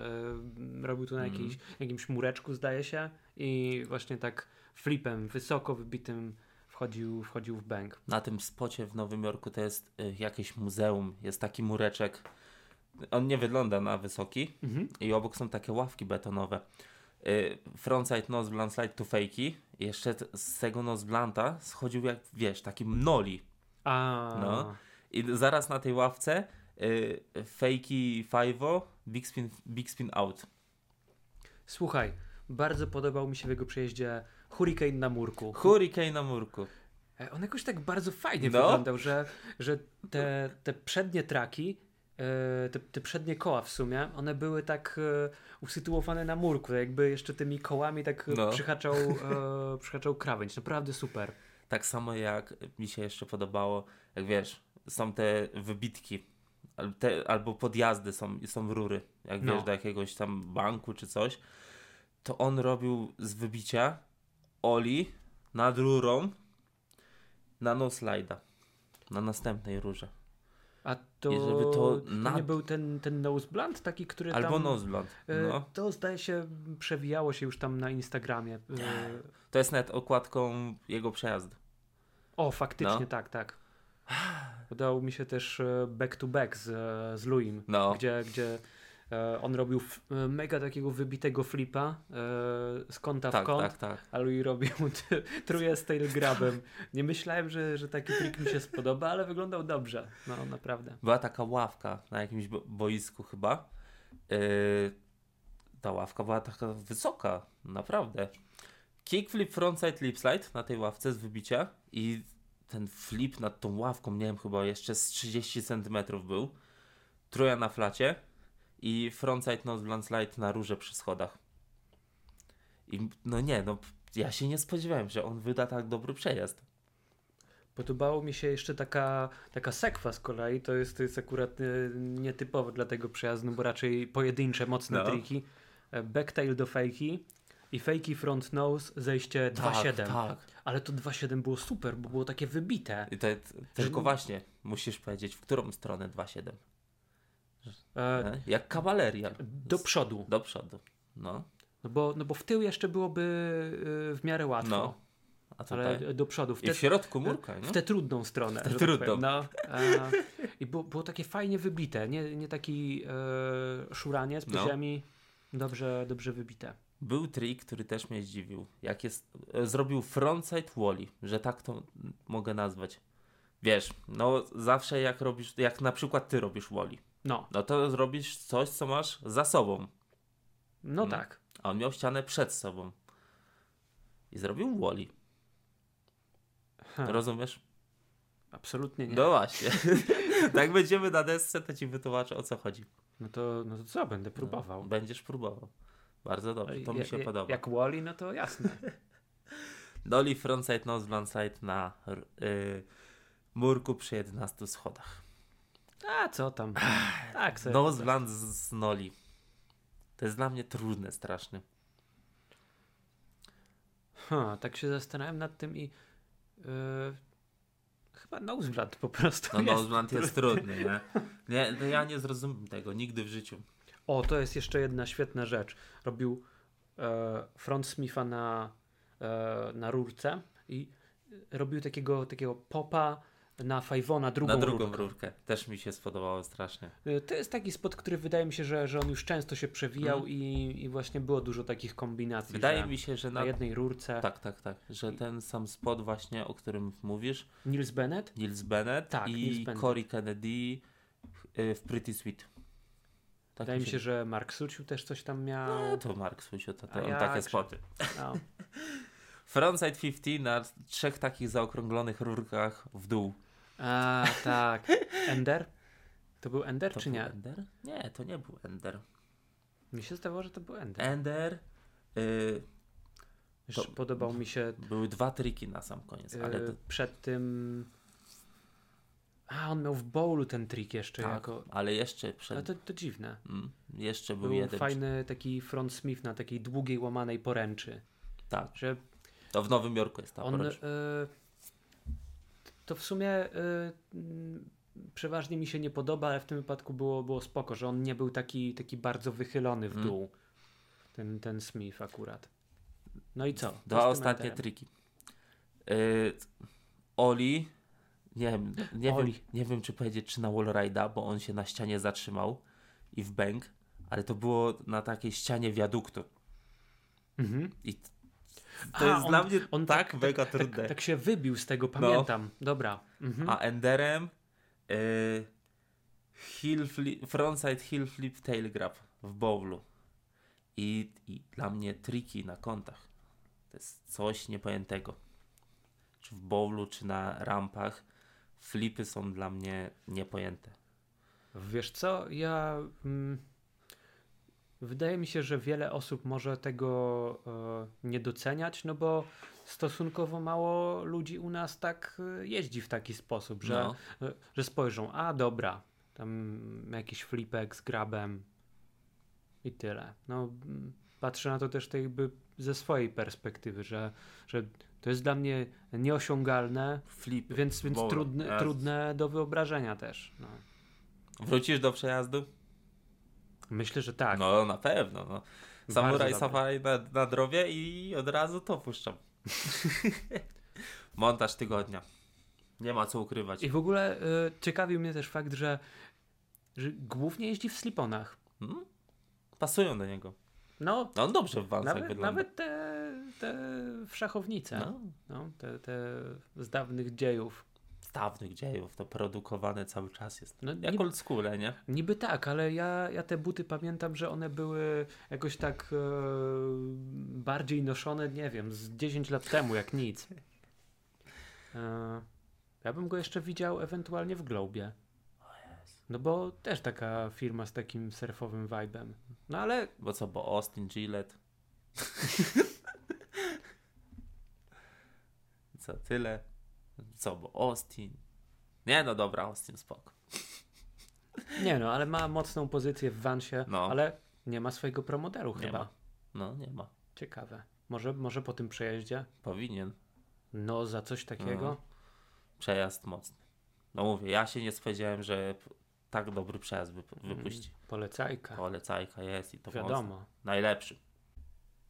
B: robił to na jakiejś, jakimś mureczku zdaje się i właśnie tak flipem wysoko wybitym wchodził, wchodził w bank.
A: na tym spocie w Nowym Jorku to jest y, jakieś muzeum, jest taki mureczek. On nie wygląda na wysoki
B: Mhm.
A: i obok są takie ławki betonowe. Y, Frontside, nose blunt, slide to fejki. I Jeszcze t- z tego nose blunta schodził jak, wiesz, taki noli.
B: A,
A: No. I d- zaraz na tej ławce y, fejki five big spin, big spin out.
B: Słuchaj, bardzo podobał mi się w jego przejeździe Hurricane na murku.
A: Hurricane na murku.
B: E, On jakoś tak bardzo fajnie
A: No.
B: wyglądał, że, że te, te przednie traki, e, te, te przednie koła w sumie, one były tak e, usytuowane na murku, jakby jeszcze tymi kołami tak
A: No.
B: no. przyhaczał, e, przyhaczał krawędź. Naprawdę super.
A: Tak samo jak mi się jeszcze podobało, jak wiesz, są te wybitki, al- te, albo podjazdy są, są rury, jak
B: No.
A: wiesz, do jakiegoś tam banku czy coś, to on robił z wybicia Oli nad rurą na no slajda, na następnej rurze.
B: A to,
A: I żeby to
B: to
A: na-
B: nie był ten, ten nose blunt taki, który
A: Albo
B: tam...
A: noseblond.
B: e,
A: No.
B: To zdaje się przewijało się już tam na Instagramie. E,
A: To jest nawet okładką jego przejazdu.
B: O, faktycznie,
A: No.
B: tak, tak. Udało mi się też e, back to back z, e, z Luim,
A: No.
B: gdzie, gdzie e, on robił f- e, mega takiego wybitego flipa e, z kąta w
A: Tak,
B: kąt,
A: tak, tak.
B: a Louis robił t- truje z tail grabem. Nie myślałem, że, że taki trik mi się spodoba, ale wyglądał dobrze. No, naprawdę.
A: była taka ławka na jakimś bo- boisku chyba. Yy, ta ławka była taka wysoka, naprawdę. Kickflip, frontside, lipslide na tej ławce z wybicia i ten flip nad tą ławką, nie wiem, chyba jeszcze z 30 cm był. Troja na flacie i frontside, nose, blunt slide na rurze przy schodach. I no nie, no p- ja się nie spodziewałem, że on wyda tak dobry przejazd.
B: Podobało mi się jeszcze taka, taka sekwa z kolei, to jest, to jest akurat e, nietypowe dla tego przejazdu, bo raczej pojedyncze, mocne
A: No.
B: triki. E, Backtail do fejki i fejki front nose, zejście
A: Tak,
B: 2-7.
A: tak.
B: Ale to 2-7 było super, bo było takie wybite.
A: I to, tylko
B: Mm.
A: właśnie musisz powiedzieć, w którą stronę 2.7.
B: E,
A: E, Jak kawaleria.
B: do przodu,
A: Do przodu. No,
B: no bo, no bo w tył jeszcze byłoby e, w miarę łatwo.
A: no. A tutaj.
B: Ale do przodu. W
A: I
B: te-
A: w środku murka, nie?
B: w tę trudną stronę. że tak
A: trudną.
B: powiem. No, a, I było, było takie fajnie wybite, nie, nie taki e, szuraniec po
A: No.
B: ziemi, dobrze, dobrze wybite.
A: Był trik, który też mnie zdziwił. Jak jest, e, zrobił frontside wally, że tak to m, mogę nazwać. Wiesz, no zawsze jak robisz, jak na przykład ty robisz wally,
B: No,
A: no to zrobisz coś, co masz za sobą.
B: no tak.
A: A on miał ścianę przed sobą. I zrobił wally.
B: Ha,
A: Rozumiesz?
B: absolutnie nie.
A: No właśnie. tak będziemy na desce, to ci wytłumaczę o co chodzi.
B: No, to, no to co, będę próbował.
A: Będziesz próbował. Bardzo dobrze, to mi
B: Jak-
A: się
B: jak-
A: podoba.
B: Jak Wally, no to jasne.
A: Dolly frontside, nose blindside na r- y, murku przy 11 schodach.
B: A co tam? Tak, sobie.
A: Nose blind z, z noli. To jest dla mnie trudne strasznie. No,
B: Ha, tak się zastanawiam nad tym i e, chyba Noseblunt po prostu
A: No
B: jest.
A: nose blind jest trudny, nie? nie no ja nie zrozumiem tego nigdy w życiu.
B: O, to jest jeszcze jedna świetna rzecz. Robił e, front Smitha na e, na rurce i robił takiego, takiego popa na Fajwona drugą,
A: Na drugą
B: rurkę.
A: rurkę. Też mi się spodobało strasznie.
B: E, To jest taki spot, który wydaje mi się, że, że on już często się przewijał i, i właśnie było dużo takich kombinacji.
A: Mhm. Wydaje
B: że
A: mi się, że
B: na
A: na...
B: jednej rurce
A: Tak, tak, tak. Że ten sam spot właśnie, o którym mówisz,
B: Nils Bennett.
A: Nils Bennett
B: Tak,
A: i
B: Nils Bennett.
A: Corey Kennedy y, w Pretty Sweet. Tak
B: Wydaje mi się, że Mark Suciu też coś tam miał.
A: No to Mark Susio, to,
B: A
A: to on
B: jakże.
A: takie spoty.
B: No.
A: Frontside 50 na trzech takich zaokrąglonych rurkach w dół.
B: A, tak. Ender? To był Ender
A: To
B: czy
A: był
B: nie?
A: Ender? Nie, to nie był Ender.
B: Mi się zdawało, że to był
A: E,
B: Ender.
A: Ender. Y,
B: Że Podobał mi się
A: były dwa triki na sam koniec, ale
B: y,
A: to,
B: przed tym... A, on miał w bowlu ten trik jeszcze
A: tak,
B: jako...
A: ale jeszcze
B: Ale
A: przed,
B: to, to dziwne.
A: mm, jeszcze był,
B: Był
A: jeden.
B: fajny taki front smith na takiej długiej, łamanej poręczy.
A: Tak,
B: Że
A: to w Nowym Jorku jest ta
B: on...
A: poręcz.
B: y, to w sumie y, mm, przeważnie mi się nie podoba, ale w tym wypadku było, było spoko, że on nie był taki, taki bardzo wychylony w
A: Mm.
B: dół. Ten, ten Smith akurat. No i co?
A: Dwa
B: Z tym
A: ostatnie
B: enterem.
A: triki. Y, Oli, nie, wiem, nie,
B: Oli.
A: Wiem, nie wiem, czy powiedzieć, czy na wallride'a, bo on się na ścianie zatrzymał i w bank, ale to było na takiej ścianie wiaduktu.
B: Mhm.
A: I t-
B: A,
A: to jest
B: on-
A: dla mnie
B: on
A: tak,
B: tak-
A: mega trudne.
B: Tak, tak się wybił z tego, pamiętam. Dobra. Mhm.
A: A Enderem y, heel flip, frontside heel flip tail grab w bowlu. I, I dla mnie triki na kątach. To jest coś niepojętego. Czy w bowlu, czy na rampach. Flipy są dla mnie niepojęte.
B: Wiesz co, ja. Mm, wydaje mi się, że wiele osób może tego e, nie doceniać, no bo stosunkowo mało ludzi u nas tak e, jeździ w taki sposób, że,
A: No.
B: e, że spojrzą, a dobra, tam jakiś flipek z grabem i tyle. No, mm, patrzę na to też tak jakby ze swojej perspektywy, że, że to jest dla mnie nieosiągalne,
A: Flipy.
B: więc, więc
A: Dobra,
B: trudne,
A: jasne.
B: trudne do wyobrażenia też. No.
A: Wrócisz do przejazdu?
B: Myślę, że tak.
A: No na pewno. No. Samuraj
B: dobry.
A: Safari na, na drobie i od razu to puszczam. Montaż tygodnia. Nie ma co ukrywać.
B: I w ogóle y, ciekawił mnie też fakt, że, że głównie jeździ w sliponach.
A: Mm? Pasują do niego.
B: No,
A: No on dobrze w wansach
B: nawet,
A: wygląda.
B: nawet te, te wszachownice, no.
A: No,
B: te, te z dawnych dziejów.
A: z dawnych dziejów to produkowane cały czas jest.
B: No,
A: Jak
B: nie-
A: old school, e, nie?
B: Niby tak, ale ja, ja te buty pamiętam, że one były jakoś tak e, bardziej noszone, nie wiem, z 10 lat temu, jak nic. E, ja bym go jeszcze widział ewentualnie w Globie. No bo też taka firma z takim surfowym vibem. No ale
A: Bo co, bo Austin, Gillette. co, tyle? Co, bo Austin. Nie, no dobra, Austin, spoko.
B: nie no, ale ma mocną pozycję w Vansie,
A: No.
B: ale nie ma swojego promodelu
A: Nie
B: chyba.
A: ma. No, nie ma.
B: Ciekawe. Może, może po tym przejeździe?
A: Powinien.
B: No za coś takiego?
A: Mhm. Przejazd mocny. No mówię, ja się nie spodziewałem, że p- tak dobry przejazd wy- wypuści.
B: Polecajka.
A: Polecajka jest i to mocno.
B: Mm, tak. Wiadomo.
A: Najlepszy.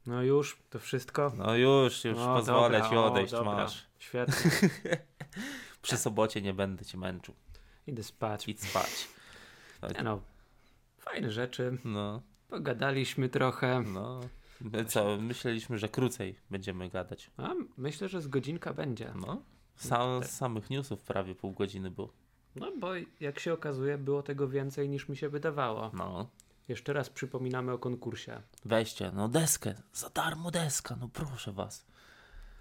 B: No już, to wszystko.
A: No już, już
B: No,
A: pozwolę
B: dobra,
A: ci
B: o,
A: odejść,
B: dobra.
A: masz.
B: Świetnie.
A: Przy sobocie nie będę cię męczył.
B: Idę spać.
A: Idź spać.
B: Nie No, fajne rzeczy.
A: No,
B: Pogadaliśmy trochę.
A: no. My co, myśleliśmy, że krócej będziemy gadać.
B: A myślę, że z godzinka będzie.
A: No.
B: Tak.
A: Sam, z samych newsów prawie pół godziny było.
B: No bo jak się okazuje, było tego więcej niż mi się wydawało.
A: No.
B: Jeszcze raz przypominamy o konkursie.
A: Weźcie, no deskę. Za darmo deska, no proszę was.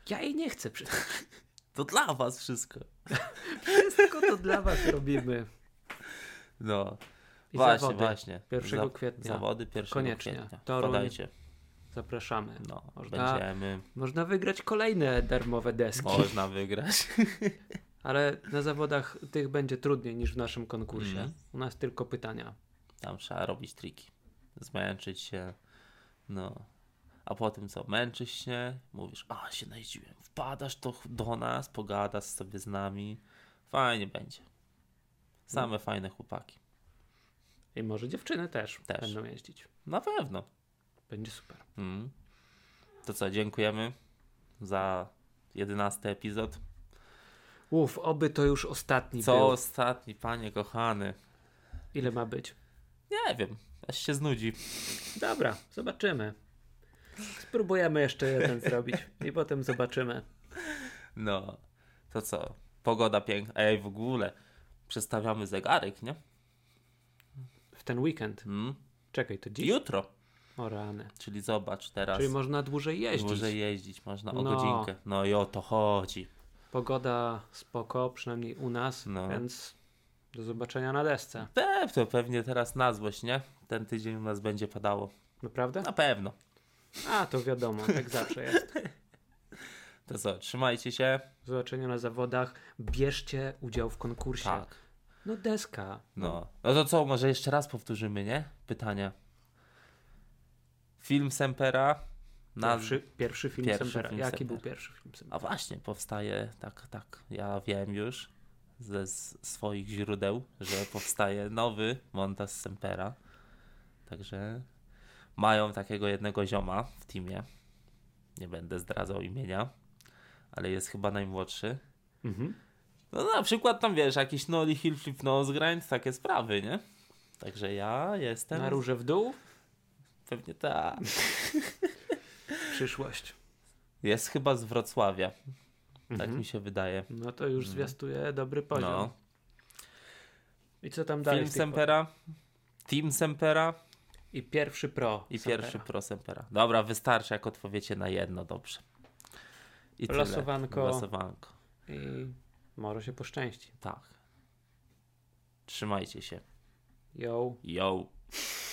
B: Ja jej nie chcę. przy-
A: To dla was wszystko.
B: Wszystko to dla was robimy.
A: No.
B: I
A: właśnie,
B: zawody.
A: właśnie.
B: 1 kwietnia.
A: Zawody 1
B: Koniecznie.
A: kwietnia.
B: Toruń.
A: Wpadajcie.
B: Zapraszamy.
A: No,
B: Można-
A: będziemy.
B: Można wygrać kolejne darmowe deski.
A: Można wygrać.
B: Ale na zawodach tych będzie trudniej niż w naszym konkursie.
A: Mhm.
B: U nas tylko pytania.
A: Tam trzeba robić triki. Zmęczyć się. No. A potem co? Męczysz się, mówisz, a się najeździłem. Wpadasz to ch- do nas, pogadasz sobie z nami. Fajnie będzie. Same fajne chłopaki.
B: I może dziewczyny też,
A: Też.
B: będą jeździć.
A: Na pewno.
B: Będzie super.
A: Mm. To co, dziękujemy za jedenasty epizod.
B: Uf, oby to już ostatni
A: Co
B: był.
A: ostatni, panie kochany?
B: Ile ma być?
A: Nie wiem, aż się znudzi.
B: Dobra, zobaczymy. Spróbujemy jeszcze jeden zrobić i potem zobaczymy.
A: No, to co? Pogoda piękna. Ej, w ogóle, przestawiamy zegarek, nie?
B: W ten weekend.
A: Mm.
B: Czekaj, to dziś?
A: Jutro,
B: O rany.
A: czyli zobacz teraz.
B: Czyli można dłużej jeździć.
A: Może jeździć można o
B: No.
A: godzinkę. No i o to chodzi.
B: Pogoda spoko, przynajmniej u nas,
A: No.
B: więc do zobaczenia na desce.
A: Pe, to pewnie teraz na złość, nie? Ten tydzień u nas będzie padało.
B: Naprawdę?
A: Na pewno.
B: A, to wiadomo, tak zawsze jest.
A: To co, trzymajcie się.
B: Do zobaczenia na zawodach. Bierzcie udział w konkursie.
A: Tak.
B: No deska.
A: No. no to co, może jeszcze raz powtórzymy, nie? Pytania. Film Sempera. Naz...
B: Pierwszy, pierwszy film
A: Pierwszy
B: Sempera.
A: film
B: Jaki
A: Sempera.
B: był pierwszy film Sempera?
A: A właśnie, powstaje, tak, tak, ja wiem już ze s- swoich źródeł, że powstaje nowy Montas Sempera. Także mają takiego jednego zioma w teamie. Nie będę zdradzał imienia, ale jest chyba najmłodszy.
B: Mhm.
A: No na przykład tam wiesz, jakiś Nolly Hill Flip Nose Grind, takie sprawy, nie? Także ja jestem
B: Na róże w dół?
A: pewnie ta.
B: Przyszłość.
A: Jest chyba z Wrocławia, tak
B: Mhm.
A: mi się wydaje.
B: No to już zwiastuje dobry poziom.
A: No.
B: I co tam dalej?
A: Film
B: w tej
A: Sempera, Team Sempera,
B: po- I pierwszy pro.
A: I
B: Sempera.
A: pierwszy pro Sempera. Dobra, wystarczy, jak odpowiecie na jedno, dobrze. I tyle.
B: Losowanko.
A: Losowanko,
B: I może się poszczęści.
A: tak. Trzymajcie się.
B: Yo.
A: Yo.